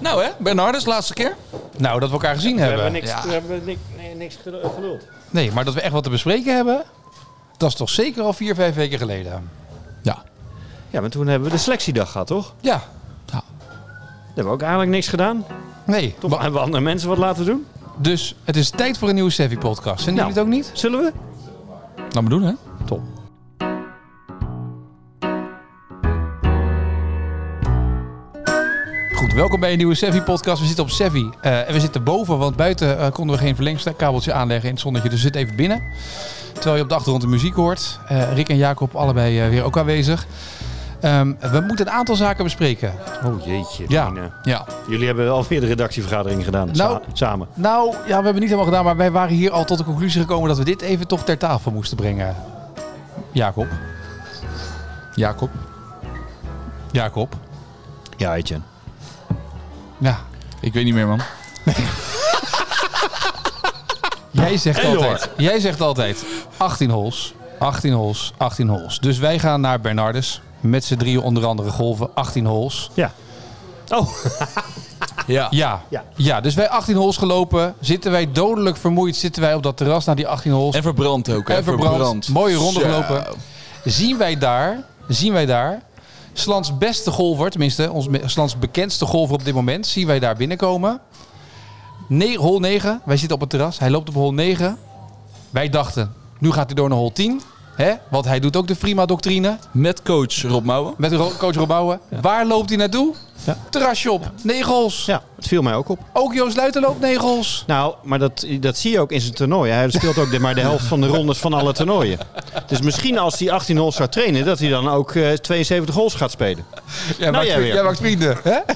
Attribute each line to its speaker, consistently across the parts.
Speaker 1: Nou hè, Bernardus, laatste keer.
Speaker 2: Nou, dat we elkaar gezien
Speaker 3: We hebben
Speaker 2: hebben.
Speaker 3: niks,
Speaker 1: Ja.
Speaker 3: we hebben niks, nee, niks gelu- eh, geluld.
Speaker 2: Nee, maar dat we echt wat te bespreken hebben, dat is toch zeker al vier, vijf weken geleden.
Speaker 1: Ja.
Speaker 3: Ja, maar toen hebben we de selectiedag gehad, toch?
Speaker 2: Ja,
Speaker 3: Daar hebben we ook eigenlijk niks gedaan.
Speaker 2: nee.
Speaker 3: Toch hebben we andere mensen wat laten doen.
Speaker 2: Dus het is tijd voor een nieuwe Savvy podcast. Vinden
Speaker 3: Nou.
Speaker 2: jullie het ook niet?
Speaker 3: Zullen we?
Speaker 1: Nou, we doen hè.
Speaker 2: Top. Goed, welkom bij een nieuwe Savvy podcast. We zitten op Savvy eh, en we zitten boven, want buiten eh, konden we geen verlengkabeltje aanleggen in het zonnetje. Dus zit even binnen. Terwijl je op de achtergrond de muziek hoort. Eh, Rick en Jacob allebei eh, weer ook aanwezig. Ehm, we moeten een aantal zaken bespreken.
Speaker 3: Oh jeetje.
Speaker 2: Ja,
Speaker 3: Dine.
Speaker 2: ja.
Speaker 3: Jullie hebben alweer de redactievergadering gedaan.
Speaker 2: Nou.
Speaker 3: sa- samen.
Speaker 2: Nou, ja, we hebben niet helemaal gedaan, maar wij waren hier al tot de conclusie gekomen dat we dit even toch ter tafel moesten brengen. Jacob. Jacob. Jacob.
Speaker 3: Ja, Etienne.
Speaker 2: Ja,
Speaker 1: Ik weet niet meer man.
Speaker 2: jij zegt
Speaker 3: Hey,
Speaker 2: altijd. Jij zegt altijd 18 holes, 18 holes, 18 holes. Dus wij gaan naar Bernardus met z'n drieën onder andere golven 18 holes.
Speaker 3: Ja. Oh,
Speaker 1: Ja.
Speaker 2: Ja.
Speaker 3: Ja.
Speaker 2: Ja, dus wij 18 holes gelopen, zitten wij dodelijk vermoeid, zitten wij op dat terras naar die 18 holes.
Speaker 1: En verbrand ook. hè.
Speaker 2: En verbrand. Mooie ronde
Speaker 1: Zo.
Speaker 2: gelopen. zien wij daar, zien wij daar, Slans beste golfer, tenminste ons me- Slans bekendste golfer op dit moment, zien wij daar binnenkomen. Ne hol 9, wij zitten op het terras, hij loopt op hol 9. Wij dachten, nu gaat hij door naar hol 10. Hè? Want hij doet ook de prima-doctrine
Speaker 1: Met coach Rob Mouwen.
Speaker 2: met Ro- coach Robouwen. Waar loopt hij naartoe?
Speaker 3: Ja.
Speaker 2: Terrasje op, negels.
Speaker 3: ja. Het viel mij ook op.
Speaker 2: Ook Joost Luiten loopt negels.
Speaker 3: Nou, maar dat, dat zie je ook in zijn toernooi. Hij speelt ook de, maar de helft van de rondes van alle toernooien. Dus misschien als hij 18 holes gaat trainen, dat hij dan ook eh, 72 holes gaat spelen.
Speaker 2: Jij,
Speaker 3: Nou, jij
Speaker 2: maakt,
Speaker 3: weer.
Speaker 2: jij maakt vrienden, hè?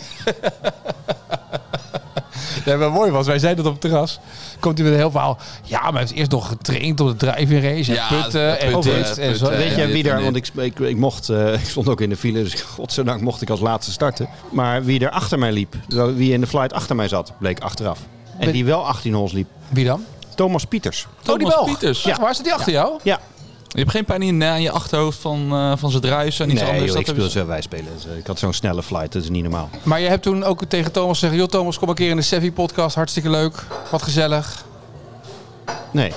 Speaker 2: Ja, wat mooi was, wij zeiden dat op het terras. Komt hij met een heel verhaal. Ja, maar hij heeft eerst nog getraind op de driving race. En
Speaker 1: Ja,
Speaker 2: putten en
Speaker 1: putten,
Speaker 2: dit en zo.
Speaker 1: putten.
Speaker 3: Weet
Speaker 1: Eh, ja,
Speaker 3: jij
Speaker 1: dit
Speaker 3: wie
Speaker 1: en
Speaker 3: er,
Speaker 1: dit.
Speaker 3: want ik, ik, ik mocht, eh, ik stond ook in de file, dus godzijdank mocht ik als laatste starten. Maar wie er achter mij liep, wel- wie in de flight achter mij zat, bleek achteraf. En
Speaker 2: Ben-
Speaker 3: die wel 18 holes liep.
Speaker 2: Wie dan?
Speaker 3: Thomas Pieters.
Speaker 1: Thomas
Speaker 2: oh, die Belg.
Speaker 1: Pieters.
Speaker 2: Ja. Waar zit die achter jou?
Speaker 3: Ja.
Speaker 1: Je hebt geen pijn in eh, je achterhoofd van, eh, van zijn druis en iets
Speaker 3: nee,
Speaker 1: anders.
Speaker 3: joh,
Speaker 1: dat
Speaker 3: ik speel
Speaker 1: hebben ze-
Speaker 3: zo, wij spelen. Dus, eh, Ik had zo'n snelle flight, dat is niet normaal.
Speaker 2: Maar je hebt toen ook tegen Thomas gezegd... joh Thomas, kom een keer in de Sevi podcast. Hartstikke leuk. Wat gezellig.
Speaker 3: Nee.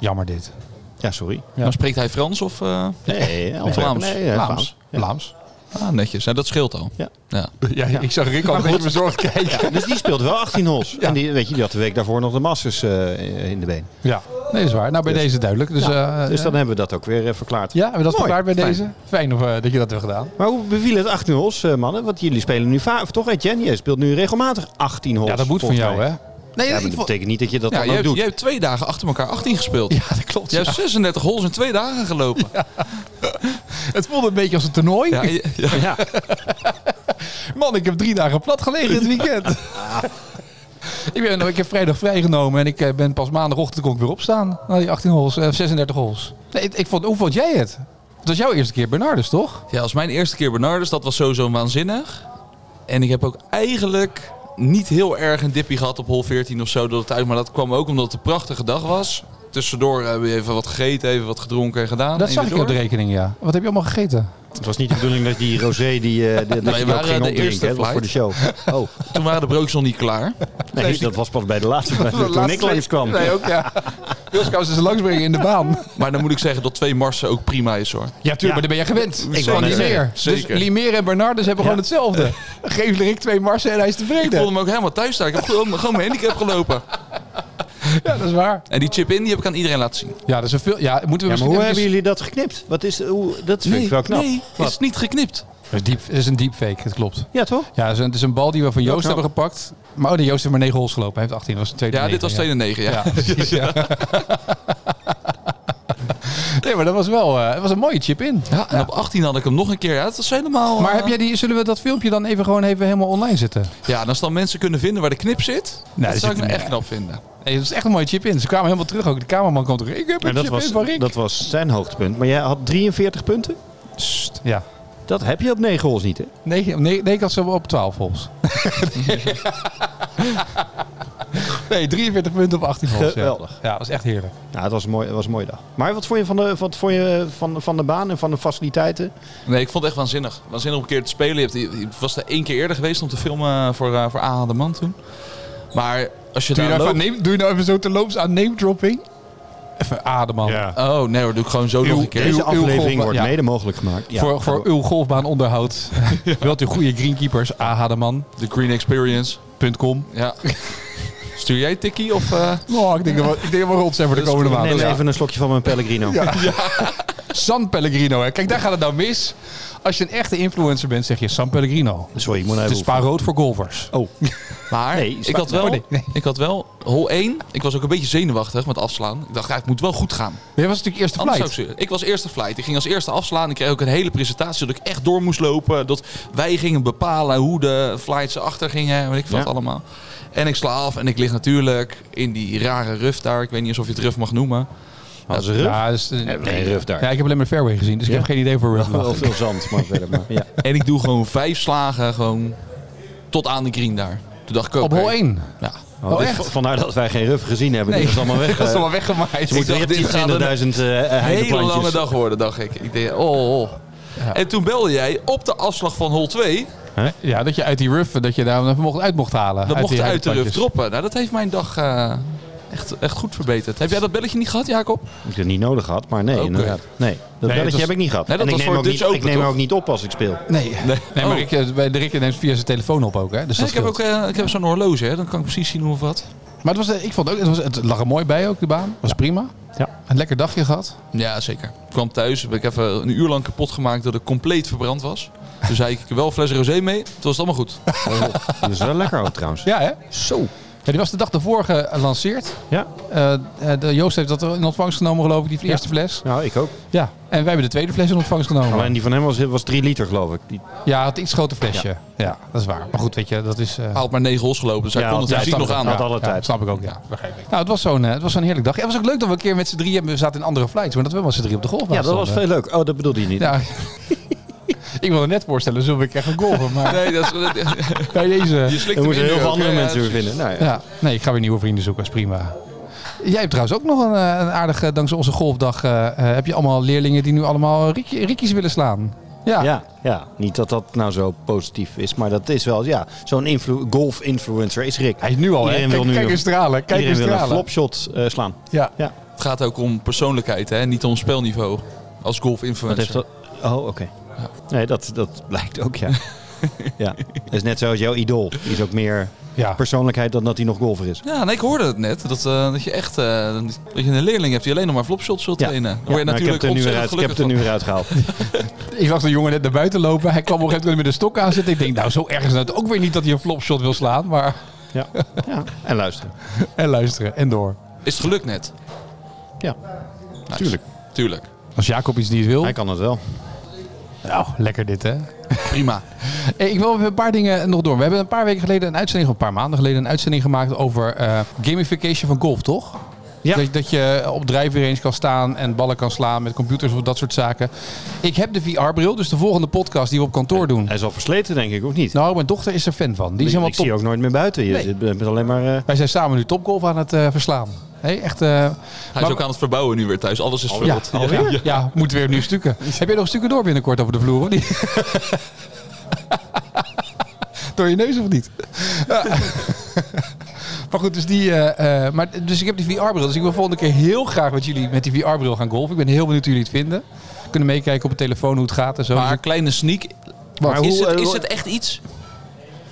Speaker 2: Jammer dit.
Speaker 3: Ja, sorry.
Speaker 1: Maar spreekt hij Frans of... eh?
Speaker 3: Nee, Antwerpen.
Speaker 1: Vlaams.
Speaker 3: Nee,
Speaker 2: Vlaams.
Speaker 3: eh, Vlaams. Ja.
Speaker 2: Vlaams.
Speaker 1: Ah, netjes. Nou, dat scheelt al.
Speaker 3: Ja.
Speaker 1: ja.
Speaker 2: Ja, Ik zag Rick al een beetje bezorgd kijken.
Speaker 3: Dus die speelt wel 18 holes. En die, weet je, die had de week daarvoor nog de Masters eh, in de been.
Speaker 2: Ja. Nee, dat is waar. Nou, bij deze duidelijk. Dus, eh,
Speaker 3: Dus dan hebben we dat ook weer eh, verklaard.
Speaker 2: Ja, hebben we dat
Speaker 3: Mooi.
Speaker 2: verklaard bij
Speaker 3: Fijn.
Speaker 2: deze? Fijn of, eh, dat je dat hebt gedaan.
Speaker 3: Maar hoe beviel het 18 holes, eh, mannen? Want jullie spelen nu vaak, toch Etienne? Jij speelt nu regelmatig 18 holes.
Speaker 2: Ja, dat moet van
Speaker 3: volgens
Speaker 2: jou,
Speaker 3: mij.
Speaker 2: hè? Nee,
Speaker 3: Ja, maar
Speaker 2: ik
Speaker 3: dat
Speaker 2: vond-
Speaker 3: betekent niet dat je dat
Speaker 1: Ja,
Speaker 3: dan
Speaker 1: je,
Speaker 3: ook
Speaker 1: hebt,
Speaker 3: doet.
Speaker 1: je hebt twee dagen achter elkaar 18 gespeeld.
Speaker 2: ja, dat klopt.
Speaker 1: Je
Speaker 2: ja.
Speaker 1: hebt 36 holes in twee dagen gelopen. Ja,
Speaker 2: Het voelde een beetje als een toernooi.
Speaker 1: je- ja.
Speaker 3: Ja.
Speaker 2: Man, ik heb drie dagen plat gelegen dit weekend. ik, ben, ik heb vrijdag vrijgenomen en ik eh, ben pas maandagochtend kon ik weer opstaan. Na die 18 holes, eh, 36 holes. Nee, ik, ik vond, hoe vond jij het? Het was jouw eerste keer Bernardus, toch?
Speaker 1: Ja, als mijn eerste keer Bernardus, dat was sowieso waanzinnig. En ik heb ook eigenlijk niet heel erg een dippie gehad op hol 14 of zo. Dat het uit, maar dat kwam ook omdat het een prachtige dag was. Tussendoor hebben we even wat gegeten, even wat gedronken en gedaan.
Speaker 2: dat
Speaker 1: En
Speaker 2: zag
Speaker 1: weer
Speaker 2: ik op de
Speaker 1: door.
Speaker 2: rekening, ja. Wat heb je allemaal gegeten?
Speaker 3: Het was niet de bedoeling dat die rosé die, eh dat
Speaker 1: Wij
Speaker 3: je die ook
Speaker 1: waren
Speaker 3: ging
Speaker 1: de
Speaker 3: opdrinken.
Speaker 1: eerste
Speaker 3: hè? Dat was voor de show. Oh,
Speaker 1: Toen waren de broodjes nog niet klaar.
Speaker 3: nee, dat was pas bij de laatste. toen ik langskwam.
Speaker 2: Nee, ook ja. Wilskous is langsbrengen in de baan.
Speaker 1: Maar dan moet ik zeggen dat twee marsen ook prima is hoor.
Speaker 2: Ja, tuurlijk, maar daar ben je gewend.
Speaker 3: Ik
Speaker 2: Van
Speaker 3: wou net
Speaker 2: Limeer.
Speaker 1: zeggen,
Speaker 2: Dus
Speaker 1: zeker.
Speaker 2: Limeer en Bernardus hebben gewoon hetzelfde. Geef Rick twee marsen en hij is
Speaker 1: Ik voelde
Speaker 2: tevreden.
Speaker 1: me ook helemaal thuis staan. Ik heb gewoon, gewoon mijn handicap gelopen.
Speaker 2: Ja, dat is waar.
Speaker 1: En die chip in, die heb ik aan iedereen laten zien.
Speaker 2: Ja, dat is een veel... Ja, moeten we
Speaker 3: Ja, maar
Speaker 2: misschien
Speaker 3: hoe
Speaker 2: eventjes-
Speaker 3: hebben jullie dat geknipt? Wat is, hoe, dat vind ik wel knap.
Speaker 1: nee,
Speaker 3: Wat?
Speaker 1: is niet geknipt.
Speaker 2: Dat is, diep, dat is een deepfake, het klopt.
Speaker 3: Ja, toch?
Speaker 2: Ja, het is een, het is een bal die we van Joost
Speaker 3: knap.
Speaker 2: hebben gepakt. Maar oh, nee, Joost heeft maar 9 holes gelopen. Hij heeft 18, dat was de tweede
Speaker 1: nou. Ja, dit was 2
Speaker 2: negen,
Speaker 1: en 9, ja.
Speaker 2: ja. Ja, precies, ja. nee, maar dat was wel... eh, het was een mooie chip in.
Speaker 1: Ja, en op 18 had ik hem nog een keer. Ja, dat is helemaal...
Speaker 2: Maar
Speaker 1: eh,
Speaker 2: heb jij die, zullen we dat filmpje dan even gewoon even helemaal online zetten?
Speaker 1: Ja, en als dan mensen kunnen vinden waar de knip zit,
Speaker 2: dat
Speaker 1: dat
Speaker 2: zit
Speaker 1: zou ik me
Speaker 2: hem-
Speaker 1: echt knap vinden.
Speaker 2: Nee, dat is echt een mooie chip in. Ze kwamen helemaal terug ook. De cameraman kwam terug. Ik heb
Speaker 3: Maar
Speaker 2: een
Speaker 3: dat
Speaker 2: chip in
Speaker 3: was,
Speaker 2: van Rick.
Speaker 3: dat was zijn hoogtepunt. Maar jij had 43 punten?
Speaker 2: Sst, ja.
Speaker 3: Dat heb je op 9 holes niet, hè?
Speaker 2: Nee, nee, nee, ik had ze op 12 holes. Nee, 43 punten op 18 goals. ja.
Speaker 3: Geweldig.
Speaker 2: Ja, dat is echt heerlijk.
Speaker 3: Nou, het was een, mooi, het was een mooie dag. Maar wat vond je van de, wat vond je van, van de baan en van de faciliteiten?
Speaker 1: Nee, ik vond het echt waanzinnig. Waanzinnig om een keer te spelen. Je, hebt, je- je was er één keer eerder geweest om te filmen voor, eh voor A.H. de Man toen. Maar als je
Speaker 2: Doe je,
Speaker 1: daar
Speaker 2: nou even,
Speaker 1: loopt...
Speaker 2: neem, doe je nou even zo terloops aan name dropping? Even ademen.
Speaker 1: Oh, nee hoor, doe ik gewoon zo nog een keer.
Speaker 2: Uw-
Speaker 3: Deze
Speaker 2: uw golf-
Speaker 3: aflevering wordt
Speaker 2: ja.
Speaker 3: mede mogelijk gemaakt. Ja.
Speaker 2: voor, voor uw golfbaanonderhoud. Wilt u goede greenkeepers? ahdeman.com.
Speaker 1: De Green Experience. Ja. Stuur jij tikkie of... eh,
Speaker 2: Oh, ik denk dat we, ik denk dat we rot zijn voor de
Speaker 1: Dat is
Speaker 2: komende
Speaker 1: goed.
Speaker 2: maanden.
Speaker 3: Neem
Speaker 2: Ja.
Speaker 3: even een slokje van mijn Pellegrino.
Speaker 2: San Pellegrino. Hè. Kijk, daar gaat het nou mis. Als je een echte influencer bent, zeg je San Pellegrino.
Speaker 3: Sorry, ik moet
Speaker 2: Het
Speaker 3: even
Speaker 2: is spa rood voor golfers.
Speaker 3: Oh,
Speaker 1: Maar
Speaker 3: Nee,
Speaker 1: ik,
Speaker 3: sla-
Speaker 1: had wel,
Speaker 2: Oh, nee, nee.
Speaker 1: ik had wel hol 1. Ik was ook een beetje zenuwachtig met afslaan. Ik dacht, ja, het moet wel goed gaan.
Speaker 2: Dit was natuurlijk eerste
Speaker 1: Anders
Speaker 2: flight.
Speaker 1: zou ik ze- ik was eerste flight. Ik ging als eerste afslaan. Ik kreeg ook een hele presentatie dat ik echt door moest lopen. Dat wij gingen bepalen hoe de flights achter gingen. Weet ik wat
Speaker 3: Ja.
Speaker 1: allemaal. En ik sla af en ik lig natuurlijk in die rare ruf daar. Ik weet niet eens of je het ruf mag noemen.
Speaker 3: dat is een rug.
Speaker 2: Ja, dus, eh,
Speaker 3: Nee, ruf daar.
Speaker 2: ja, ik heb alleen maar fairway gezien, dus ik
Speaker 3: Ja? Oh,
Speaker 2: heb geen idee voor rug.
Speaker 3: Wel veel zand, maar verder. Maar, ja.
Speaker 1: En ik doe gewoon vijf slagen gewoon tot aan de green daar. Toen dacht ik ook.
Speaker 2: Op hol 1.
Speaker 1: Ja.
Speaker 3: Oh,
Speaker 2: Oh,
Speaker 3: dit-
Speaker 2: echt?
Speaker 3: Vandaar dat wij geen ruf gezien hebben.
Speaker 2: Nee.
Speaker 3: Dat is allemaal weg.
Speaker 2: Dat is
Speaker 3: eh,
Speaker 2: allemaal weggemaaid.
Speaker 3: Ze moeten
Speaker 1: dacht,
Speaker 3: weer
Speaker 1: dit gaat een
Speaker 3: 10.000 eh
Speaker 1: hele
Speaker 3: heideplantjes.
Speaker 1: lange dag worden, dacht ik. Ik denk, oh. oh.
Speaker 2: Ja.
Speaker 1: En toen belde jij op de afslag van hol 2.
Speaker 2: Ja, dat je uit die rough, dat je daar even mocht, uit mocht halen.
Speaker 1: Dat mocht
Speaker 2: die
Speaker 1: je uit de ruf
Speaker 2: heideplantjes.
Speaker 1: droppen. Nou, dat heeft mijn dag eh, echt, echt goed verbeterd. Heb jij dat belletje niet gehad, Jacob?
Speaker 3: Ik heb het niet nodig gehad, maar nee,
Speaker 1: Oké.
Speaker 3: inderdaad. Nee, dat belletje
Speaker 2: het was-
Speaker 3: heb ik niet gehad.
Speaker 1: Nee, dat
Speaker 3: en ik
Speaker 1: was
Speaker 3: neem,
Speaker 1: voor
Speaker 3: ook niet,
Speaker 1: Dutch Open,
Speaker 3: ik neem hem
Speaker 1: toch?
Speaker 3: ook niet op als ik speel.
Speaker 2: Nee. nee.
Speaker 1: Oh.
Speaker 2: maar ik, eh, bij de Rikke neemt via zijn telefoon op ook. Hè? Dus
Speaker 1: Nee,
Speaker 2: dat
Speaker 1: ik heb ook
Speaker 2: scheelt.
Speaker 1: eh, ik heb zo'n horloge, hè. dan kan ik precies zien hoe of wat.
Speaker 2: Maar het, was, eh, ik vond ook, het, was, het lag er mooi bij ook, de baan. was prima.
Speaker 3: Ja.
Speaker 2: Een lekker dagje gehad.
Speaker 1: Ja, zeker. Ik kwam thuis, heb ik even een uur lang kapot gemaakt dat ik compleet verbrand was. Toen zei ik, ik heb wel een fles rosé mee, toen was het allemaal goed.
Speaker 3: Dat is wel lekker ook trouwens.
Speaker 2: Ja, hè?
Speaker 3: Zo.
Speaker 2: Ja, die was de dag daarvoor gelanceerd.
Speaker 3: Ja,
Speaker 2: Eh, eh, de Joost heeft dat in ontvangst genomen, geloof ik, die eerste fles.
Speaker 3: nou ik ook.
Speaker 2: Ja. En wij hebben de tweede fles in ontvangst genomen.
Speaker 3: Alleen die van hem was, was 3 liter geloof ik. Die,
Speaker 2: Ja, het iets groter flesje. Ja. dat is waar. Maar goed, weet je, dat is... eh,
Speaker 1: Haalt maar negen hols gelopen, dus hij
Speaker 3: Ja,
Speaker 1: kon het
Speaker 3: ja,
Speaker 1: fysiek
Speaker 2: snap
Speaker 1: nog
Speaker 2: ik ook.
Speaker 1: aan.
Speaker 3: Had alle tijd.
Speaker 2: snap ik ook, ja. Nou, het was zo'n eh, het was zo'n heerlijk dag. Ja, het was ook leuk dat we een keer met z'n drieën... We zaten in andere flights, maar dat we met z'n drieën op de golfbaan
Speaker 3: ja, dat was
Speaker 2: stonden.
Speaker 3: veel leuk. Oh, dat bedoelde je niet.
Speaker 2: Ja. ik wilde net voorstellen, zullen we een keer gaan golven? Maar
Speaker 1: Nee, dat is,
Speaker 2: bij
Speaker 1: je
Speaker 2: deze...
Speaker 1: slikt
Speaker 3: Dan
Speaker 1: hem
Speaker 3: moeten
Speaker 1: in
Speaker 3: heel
Speaker 1: nu
Speaker 3: veel
Speaker 1: ook,
Speaker 3: andere
Speaker 1: hè.
Speaker 3: mensen
Speaker 1: Ja,
Speaker 3: weer vinden. Nou, ja.
Speaker 2: Ja, nee, ik ga weer nieuwe vrienden zoeken, is prima. Jij hebt trouwens ook nog een, eh, een aardige, dankzij onze golfdag, eh, eh, heb je allemaal leerlingen die nu allemaal rik- rikkies willen slaan. Ja,
Speaker 3: Ja, ja, niet dat dat nou zo positief is, maar dat is wel, ja, zo'n influ- golf-influencer is Rick.
Speaker 2: hij is nu al, hè?
Speaker 3: Iedereen wil
Speaker 2: Kijk,
Speaker 3: nu
Speaker 2: kijk
Speaker 3: een-
Speaker 2: eens stralen, kijk eens
Speaker 3: Iedereen wil een
Speaker 2: stralen.
Speaker 3: flopshot eh, slaan.
Speaker 2: Ja.
Speaker 3: Ja,
Speaker 1: Het gaat ook om persoonlijkheid, hè? niet om spelniveau. Als
Speaker 3: wat
Speaker 1: golf-influencer.
Speaker 3: heeft dat? Oh, oké. Nee, dat, dat blijkt ook, ja. ja. Dat is net zoals jouw idool. Die is ook meer
Speaker 2: Ja.
Speaker 3: persoonlijkheid dan dat hij nog golfer is.
Speaker 1: Ja, nee, ik hoorde het net. Dat, eh, dat je echt eh, dat je een leerling hebt die alleen nog maar flopshots wil
Speaker 3: Ja.
Speaker 1: trainen. Dan
Speaker 3: Ja,
Speaker 1: word je
Speaker 3: nou, ik heb
Speaker 1: natuurlijk
Speaker 3: het er nu weer uit,
Speaker 1: ontzettend
Speaker 3: ik heb
Speaker 1: gelukkig
Speaker 3: het er
Speaker 1: van.
Speaker 3: nu weer uitgehaald.
Speaker 2: Ik zag de jongen net naar buiten lopen. Hij kwam op een gegeven moment met een stok aan zitten. Ik denk, nou, zo erg is het ook weer niet dat hij een flopshot wil slaan. Maar,
Speaker 3: ja. ja. En luisteren.
Speaker 2: en luisteren, en door.
Speaker 1: Is het gelukt net?
Speaker 3: Ja,
Speaker 1: Nice.
Speaker 3: tuurlijk.
Speaker 1: Tuurlijk.
Speaker 2: Als Jacob iets niet wil.
Speaker 3: Hij kan het wel.
Speaker 2: Nou, lekker dit, hè?
Speaker 1: Prima.
Speaker 2: Hey, ik wil even een paar dingen nog door. We hebben een paar weken geleden een uitzending, of een paar maanden geleden, een uitzending gemaakt over eh, gamification van golf, toch?
Speaker 3: Ja.
Speaker 2: Dat, dat je op drijfvereniging kan staan en ballen kan slaan met computers of dat soort zaken. Ik heb de VR-bril, dus de volgende podcast die we op kantoor doen.
Speaker 3: Hij is al versleten, denk ik, of niet?
Speaker 2: Nou, mijn dochter is er fan van. Die is
Speaker 3: ik
Speaker 2: helemaal
Speaker 3: zie je
Speaker 2: top.
Speaker 3: ook nooit meer buiten. Je
Speaker 2: Nee.
Speaker 3: zit bent alleen maar... eh,
Speaker 2: Wij zijn samen nu topgolf aan het eh, verslaan. Hey, echt, eh,
Speaker 1: Hij
Speaker 2: maar-
Speaker 1: is ook aan het verbouwen nu weer thuis. Alles is
Speaker 2: ja, Oh,
Speaker 1: verrot.
Speaker 2: ja, ja, moeten weer nu stukken. Heb jij nog stukken door binnenkort over de vloer, of niet? door je neus of niet? Ja. maar goed, dus, die, eh, eh, maar, dus ik heb die VR-bril. Dus ik wil volgende keer heel graag met jullie met die VR-bril gaan golven. Ik ben heel benieuwd hoe jullie het vinden. We kunnen meekijken op de telefoon hoe het gaat en zo. Dus
Speaker 1: Maar een kleine sneak.
Speaker 2: Wat?
Speaker 1: is,
Speaker 3: hoe,
Speaker 1: het,
Speaker 3: eh,
Speaker 1: is
Speaker 3: hoe-
Speaker 1: het echt iets?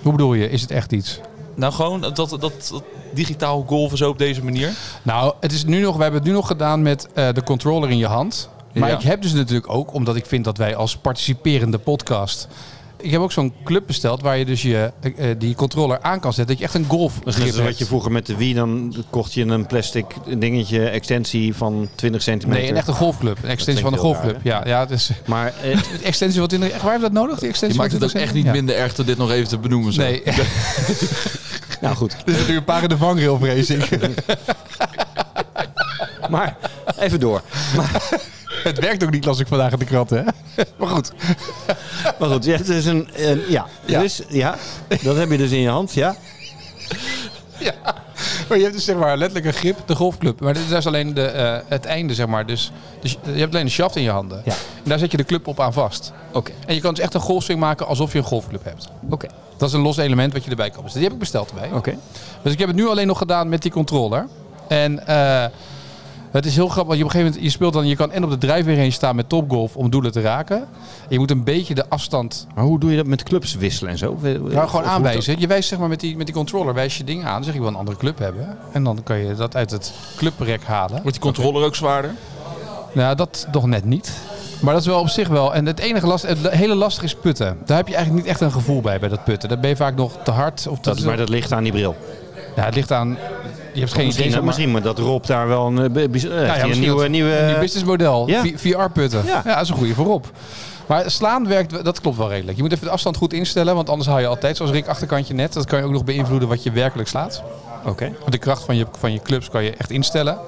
Speaker 2: hoe bedoel je? Is het echt iets?
Speaker 1: Nou, gewoon dat, dat, dat digitaal golven zo op deze manier.
Speaker 2: Nou, het is nu nog, we hebben het nu nog gedaan met eh, de controller in je hand. Maar
Speaker 1: Ja.
Speaker 2: ik heb dus natuurlijk ook, omdat ik vind dat wij als participerende podcast. Ik heb ook zo'n club besteld waar je dus je, eh, eh, die controller aan kan zetten. Dat je echt een golf
Speaker 3: Dat is net zoals wat je vroeger met de Wii, dan kocht je een plastic dingetje, extensie van 20 centimeter.
Speaker 2: Nee, een echte golfclub. Een extensie van een
Speaker 3: klinkt heel
Speaker 2: golfclub. ja, ja, het is
Speaker 3: Maar eh,
Speaker 2: het extensie wat in de. Echt, waar hebben we dat nodig? Die
Speaker 1: Je
Speaker 2: extensie
Speaker 1: maakt
Speaker 2: van
Speaker 1: het ook echt
Speaker 2: 20
Speaker 1: niet
Speaker 2: Ja.
Speaker 1: minder erg door dit nog even te benoemen. Zo.
Speaker 2: Nee, er
Speaker 3: nou goed.
Speaker 2: zitten nu een paar in de vangrail, vrees ik.
Speaker 3: Maar even door.
Speaker 2: het werkt ook niet, las ik vandaag in de krant, hè? Maar goed.
Speaker 3: Maar goed, ja, het is een. een- ja.
Speaker 2: Ja.
Speaker 3: Dus ja, dat heb je dus in je hand, ja.
Speaker 2: Ja. Maar je hebt dus zeg maar letterlijk een grip, de golfclub. Maar dit- dat is alleen de, eh, het einde, zeg maar. Dus, dus je hebt alleen de shaft in je handen.
Speaker 4: Ja.
Speaker 2: En daar zet je de club op aan vast.
Speaker 4: Oké,
Speaker 2: En je kan dus echt een golfswing maken alsof je een golfclub hebt.
Speaker 4: oké,
Speaker 2: Dat is een los element wat je erbij kan bestellen. Die heb ik besteld erbij.
Speaker 4: oké.
Speaker 2: Dus ik heb het nu alleen nog gedaan met die controller. En eh, het is heel grappig, want je op een gegeven moment je speelt dan, je kan en op de drijfweer heen staan met topgolf om doelen te raken. En je moet een beetje de afstand
Speaker 3: Maar hoe doe je dat met clubs wisselen en zo?
Speaker 2: nou, gewoon aanwijzen. Je wijst zeg maar met die, met die controller, wijs je ding aan. Dan zeg ik wil een andere club hebben. En dan kan je dat uit het clubrek halen.
Speaker 1: Wordt die controller ook zwaarder?
Speaker 2: Nou, dat nog net niet. Maar dat is wel op zich wel. En het enige last, het hele lastige is putten. Daar heb je eigenlijk niet echt een gevoel bij, bij dat putten. Dat ben je vaak nog te hard. Of te,
Speaker 3: Dat, maar dat ligt aan die bril.
Speaker 2: Ja, het ligt aan... Je hebt geen idee.
Speaker 3: Misschien,
Speaker 2: zeg maar-
Speaker 3: misschien maar dat Rob daar wel een, eh, bi- bi- eh,
Speaker 2: ja,
Speaker 3: een
Speaker 2: misschien
Speaker 3: nieuwe...
Speaker 2: dat- Een nieuw
Speaker 3: nieuwe
Speaker 2: businessmodel.
Speaker 3: Ja.
Speaker 2: VR-putten. Ja.
Speaker 3: Ja.
Speaker 2: dat is een goede voorop. Maar slaan werkt, wel- dat klopt wel redelijk. Je moet even de afstand goed instellen, want anders haal je altijd, zoals Rick achterkantje net, dat kan je ook nog beïnvloeden wat je werkelijk slaat.
Speaker 3: Oké.
Speaker 2: De kracht van je, van je clubs kan je echt instellen.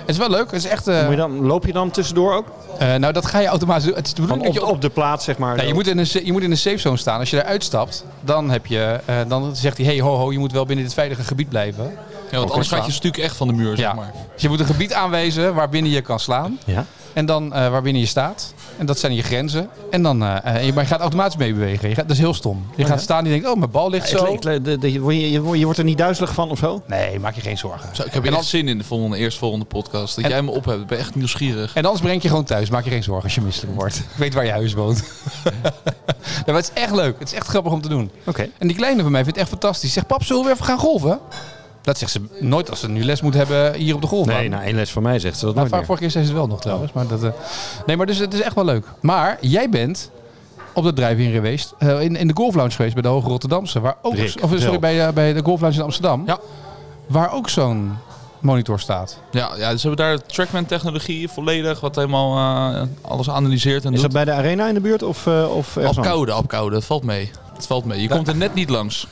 Speaker 2: Het is wel leuk. Het is echt, eh,
Speaker 3: Moet je dan, loop je dan tussendoor ook?
Speaker 2: eh, nou, dat ga je automatisch doen. Het is de
Speaker 3: Van
Speaker 2: bedoeling
Speaker 3: op,
Speaker 2: dat je op-
Speaker 3: op de plaats, zeg maar.
Speaker 2: Nee, je, moet in een, sa- je moet in een safe zone staan. Als je daaruit stapt, dan, heb je, eh, dan zegt hij: hey, ho, ho, je moet wel binnen dit veilige gebied blijven.
Speaker 1: Ja, want anders gaat je stuk echt van de muur,
Speaker 2: Ja.
Speaker 1: zeg maar.
Speaker 2: Dus je moet een gebied aanwijzen waarbinnen je kan slaan.
Speaker 3: Ja.
Speaker 2: En dan eh waarbinnen je staat. En dat zijn je grenzen. En dan, eh, eh, je, maar je gaat automatisch meebewegen. Je gaat, dat is heel stom. Je gaat staan en je denkt, oh, mijn bal ligt
Speaker 3: Het
Speaker 2: zo.
Speaker 3: leek- le- de- de- je, word- je word- je wordt er niet duizelig van of zo?
Speaker 2: Nee, maak je geen zorgen.
Speaker 1: Zo, ik heb
Speaker 2: En
Speaker 1: hier
Speaker 2: dan-
Speaker 1: echt zin in de volgende, eerstvolgende podcast. Dat
Speaker 2: En-
Speaker 1: jij me op hebt. Ik ben echt nieuwsgierig.
Speaker 2: En anders breng ik je gewoon thuis. Maak je geen zorgen als je misselijk wordt. Ik weet waar je huis woont. nee, maar het is echt leuk. Het is echt grappig om te doen.
Speaker 3: Oké.
Speaker 2: En die kleine van mij vindt het echt fantastisch. Zegt, pap, zullen we even gaan golven? Dat zegt ze nooit als ze nu les moet hebben hier op de golfbaan.
Speaker 3: Nee, nou één les van mij zegt ze dat
Speaker 2: Nou,
Speaker 3: nooit
Speaker 2: vaak
Speaker 3: meer.
Speaker 2: vorige keer zei ze het wel nog trouwens. Maar dat, eh, nee, maar dus het is echt wel leuk. Maar jij bent op de drijf-in geweest, eh, in, in de Golf Lounge geweest bij de Hoge Rotterdamse. Waar ook,
Speaker 3: Rick,
Speaker 2: of, sorry,
Speaker 3: vertel.
Speaker 2: bij, eh, bij de Golf Lounge in Amsterdam.
Speaker 1: Ja.
Speaker 2: Waar ook zo'n monitor staat.
Speaker 1: Ja, ja, dus hebben we daar Trackman-technologie volledig, wat helemaal eh, alles analyseert en
Speaker 3: Is dat
Speaker 1: doet.
Speaker 3: bij de arena in de buurt of, eh of ergens anders?
Speaker 1: Apkoude, apkoude. Het valt mee. Het valt mee. Je komt er net niet langs.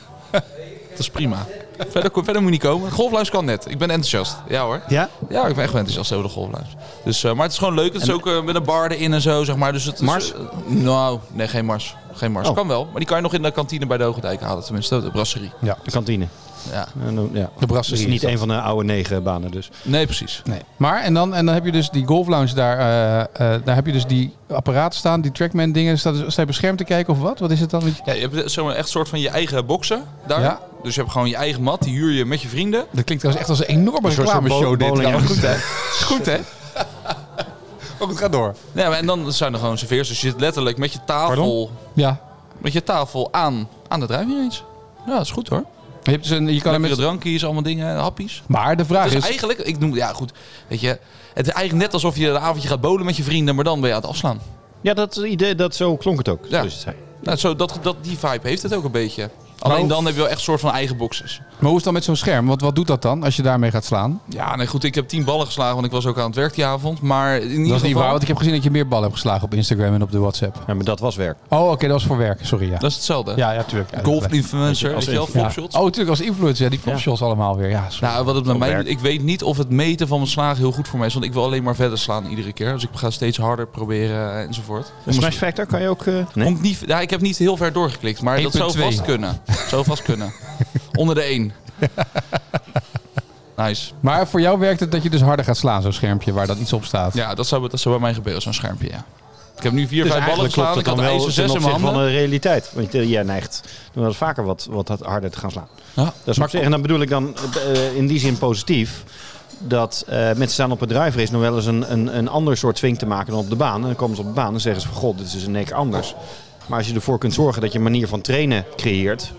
Speaker 1: Dat is prima. Verder, verder moet je niet komen. Golfluis kan net. Ik ben enthousiast. Ja hoor.
Speaker 3: Ja?
Speaker 1: Ja, ik ben echt wel enthousiast over de golfluis. Dus, eh, maar het is gewoon leuk. Het is ook eh, met een bar erin en zo, zeg maar. Dus het is-
Speaker 3: Mars?
Speaker 1: eh, nou, nee, geen Mars. Geen Mars.
Speaker 3: Oh.
Speaker 1: Kan wel. Maar die kan je nog in de kantine bij de Hoge Dijk halen. Tenminste, de brasserie.
Speaker 3: De kantine.
Speaker 1: Ja.
Speaker 3: En dan- ja.
Speaker 2: De
Speaker 3: Dus
Speaker 2: brasserie.
Speaker 3: niet een van de oude negen banen dus.
Speaker 1: Nee, precies.
Speaker 2: Nee. Maar, en dan, en dan heb je dus die Golf Lounge daar. eh, eh, daar heb je dus die apparaten staan, die Trackman dingen. Staat, sta je beschermd te kijken of wat? Wat is het dan?
Speaker 1: Ja, je hebt zo'n echt soort van je eigen boksen daar.
Speaker 2: Ja.
Speaker 1: Dus je hebt gewoon je eigen mat. Die huur je met je vrienden.
Speaker 2: Dat klinkt trouwens echt als een enorme
Speaker 3: Een soort bo-
Speaker 2: reclameshow dit.
Speaker 3: bowling-
Speaker 2: trouwens. Goed hè? Is Goed hè? Ook het gaat door.
Speaker 1: Ja, maar- en dan zijn er gewoon serveers. Dus je zit letterlijk met je tafel...
Speaker 2: Ja,
Speaker 1: met je tafel aan, aan de drijfveer eens. Ja, dat is goed hoor.
Speaker 2: Je, hebt dus een, je kan er
Speaker 1: Lekkere
Speaker 2: met...
Speaker 1: drankjes, allemaal dingen, happies.
Speaker 2: Maar de vraag
Speaker 1: Het is
Speaker 2: is...
Speaker 1: eigenlijk, ik noem, ja goed, weet je, het is eigenlijk net alsof je een avondje gaat bowlen met je vrienden, maar dan ben je aan het afslaan.
Speaker 3: Ja, dat idee, dat zo klonk het ook.
Speaker 1: Ja.
Speaker 3: Dus het zijn-
Speaker 1: Nou, zo, dat, dat, die vibe heeft het ook een beetje. Alleen dan heb je wel echt een soort van eigen boxes.
Speaker 2: Maar hoe is het dan met zo'n scherm? Want wat doet dat dan als je daarmee gaat slaan?
Speaker 1: Ja, nee goed, ik heb tien ballen geslagen, want ik was ook aan het werk die avond. Maar in ieder
Speaker 2: Dat is niet
Speaker 1: geval,
Speaker 2: waar, want ik heb gezien dat je meer ballen hebt geslagen op Instagram en op de WhatsApp.
Speaker 3: Ja, maar dat was werk.
Speaker 2: Oh, oké, dat was voor werk. Sorry, ja.
Speaker 1: dat is hetzelfde.
Speaker 2: Ja, ja, tuurlijk. Ja, dat-
Speaker 1: Golf-influencer,
Speaker 3: Als
Speaker 1: weet je wel,
Speaker 2: ja.
Speaker 3: in-
Speaker 1: flopshots.
Speaker 2: Oh, tuurlijk, als influencer. Ja, die flopshots allemaal weer. Ja, sorry.
Speaker 1: Nou, wat het bij
Speaker 3: Ook
Speaker 1: mij
Speaker 3: werk.
Speaker 1: ik weet niet of het meten van mijn slagen heel goed voor mij is. Want ik wil alleen maar verder slaan iedere keer. Dus ik ga steeds harder proberen eh, enzovoort.
Speaker 3: Een smash factor kan je ook... eh,
Speaker 1: Kon ik niet, ja, ik heb niet heel ver doorgeklikt, maar dat zou
Speaker 2: 1.2.
Speaker 1: vast kunnen. Zou vast kunnen. Onder de 1. Nice.
Speaker 2: Maar voor jou werkt het dat je dus harder gaat slaan, zo'n schermpje waar dat iets op staat.
Speaker 1: Ja, dat zou, dat zou bij mij gebeuren, zo'n schermpje, ja. Ik heb nu vier,
Speaker 3: Dus
Speaker 1: vijf ballen
Speaker 3: eigenlijk klopt
Speaker 1: geslaan.
Speaker 3: het
Speaker 1: Ik
Speaker 3: dan
Speaker 1: had
Speaker 3: wel
Speaker 1: ijzer
Speaker 3: ten
Speaker 1: 6 in mijn
Speaker 3: opzichte van
Speaker 1: handen.
Speaker 3: de realiteit. Want eh, jij neigt dan wel vaker wat, wat harder te gaan slaan.
Speaker 1: Ja.
Speaker 3: Dat is op zich, en dan bedoel ik dan eh, in die zin positief. Dat eh, mensen staan op een driver is nog wel eens een, een, een ander soort swing te maken dan op de baan. En dan komen ze op de baan en zeggen ze van god, dit is een keer anders. Maar als je ervoor kunt zorgen dat je een manier van trainen creëert.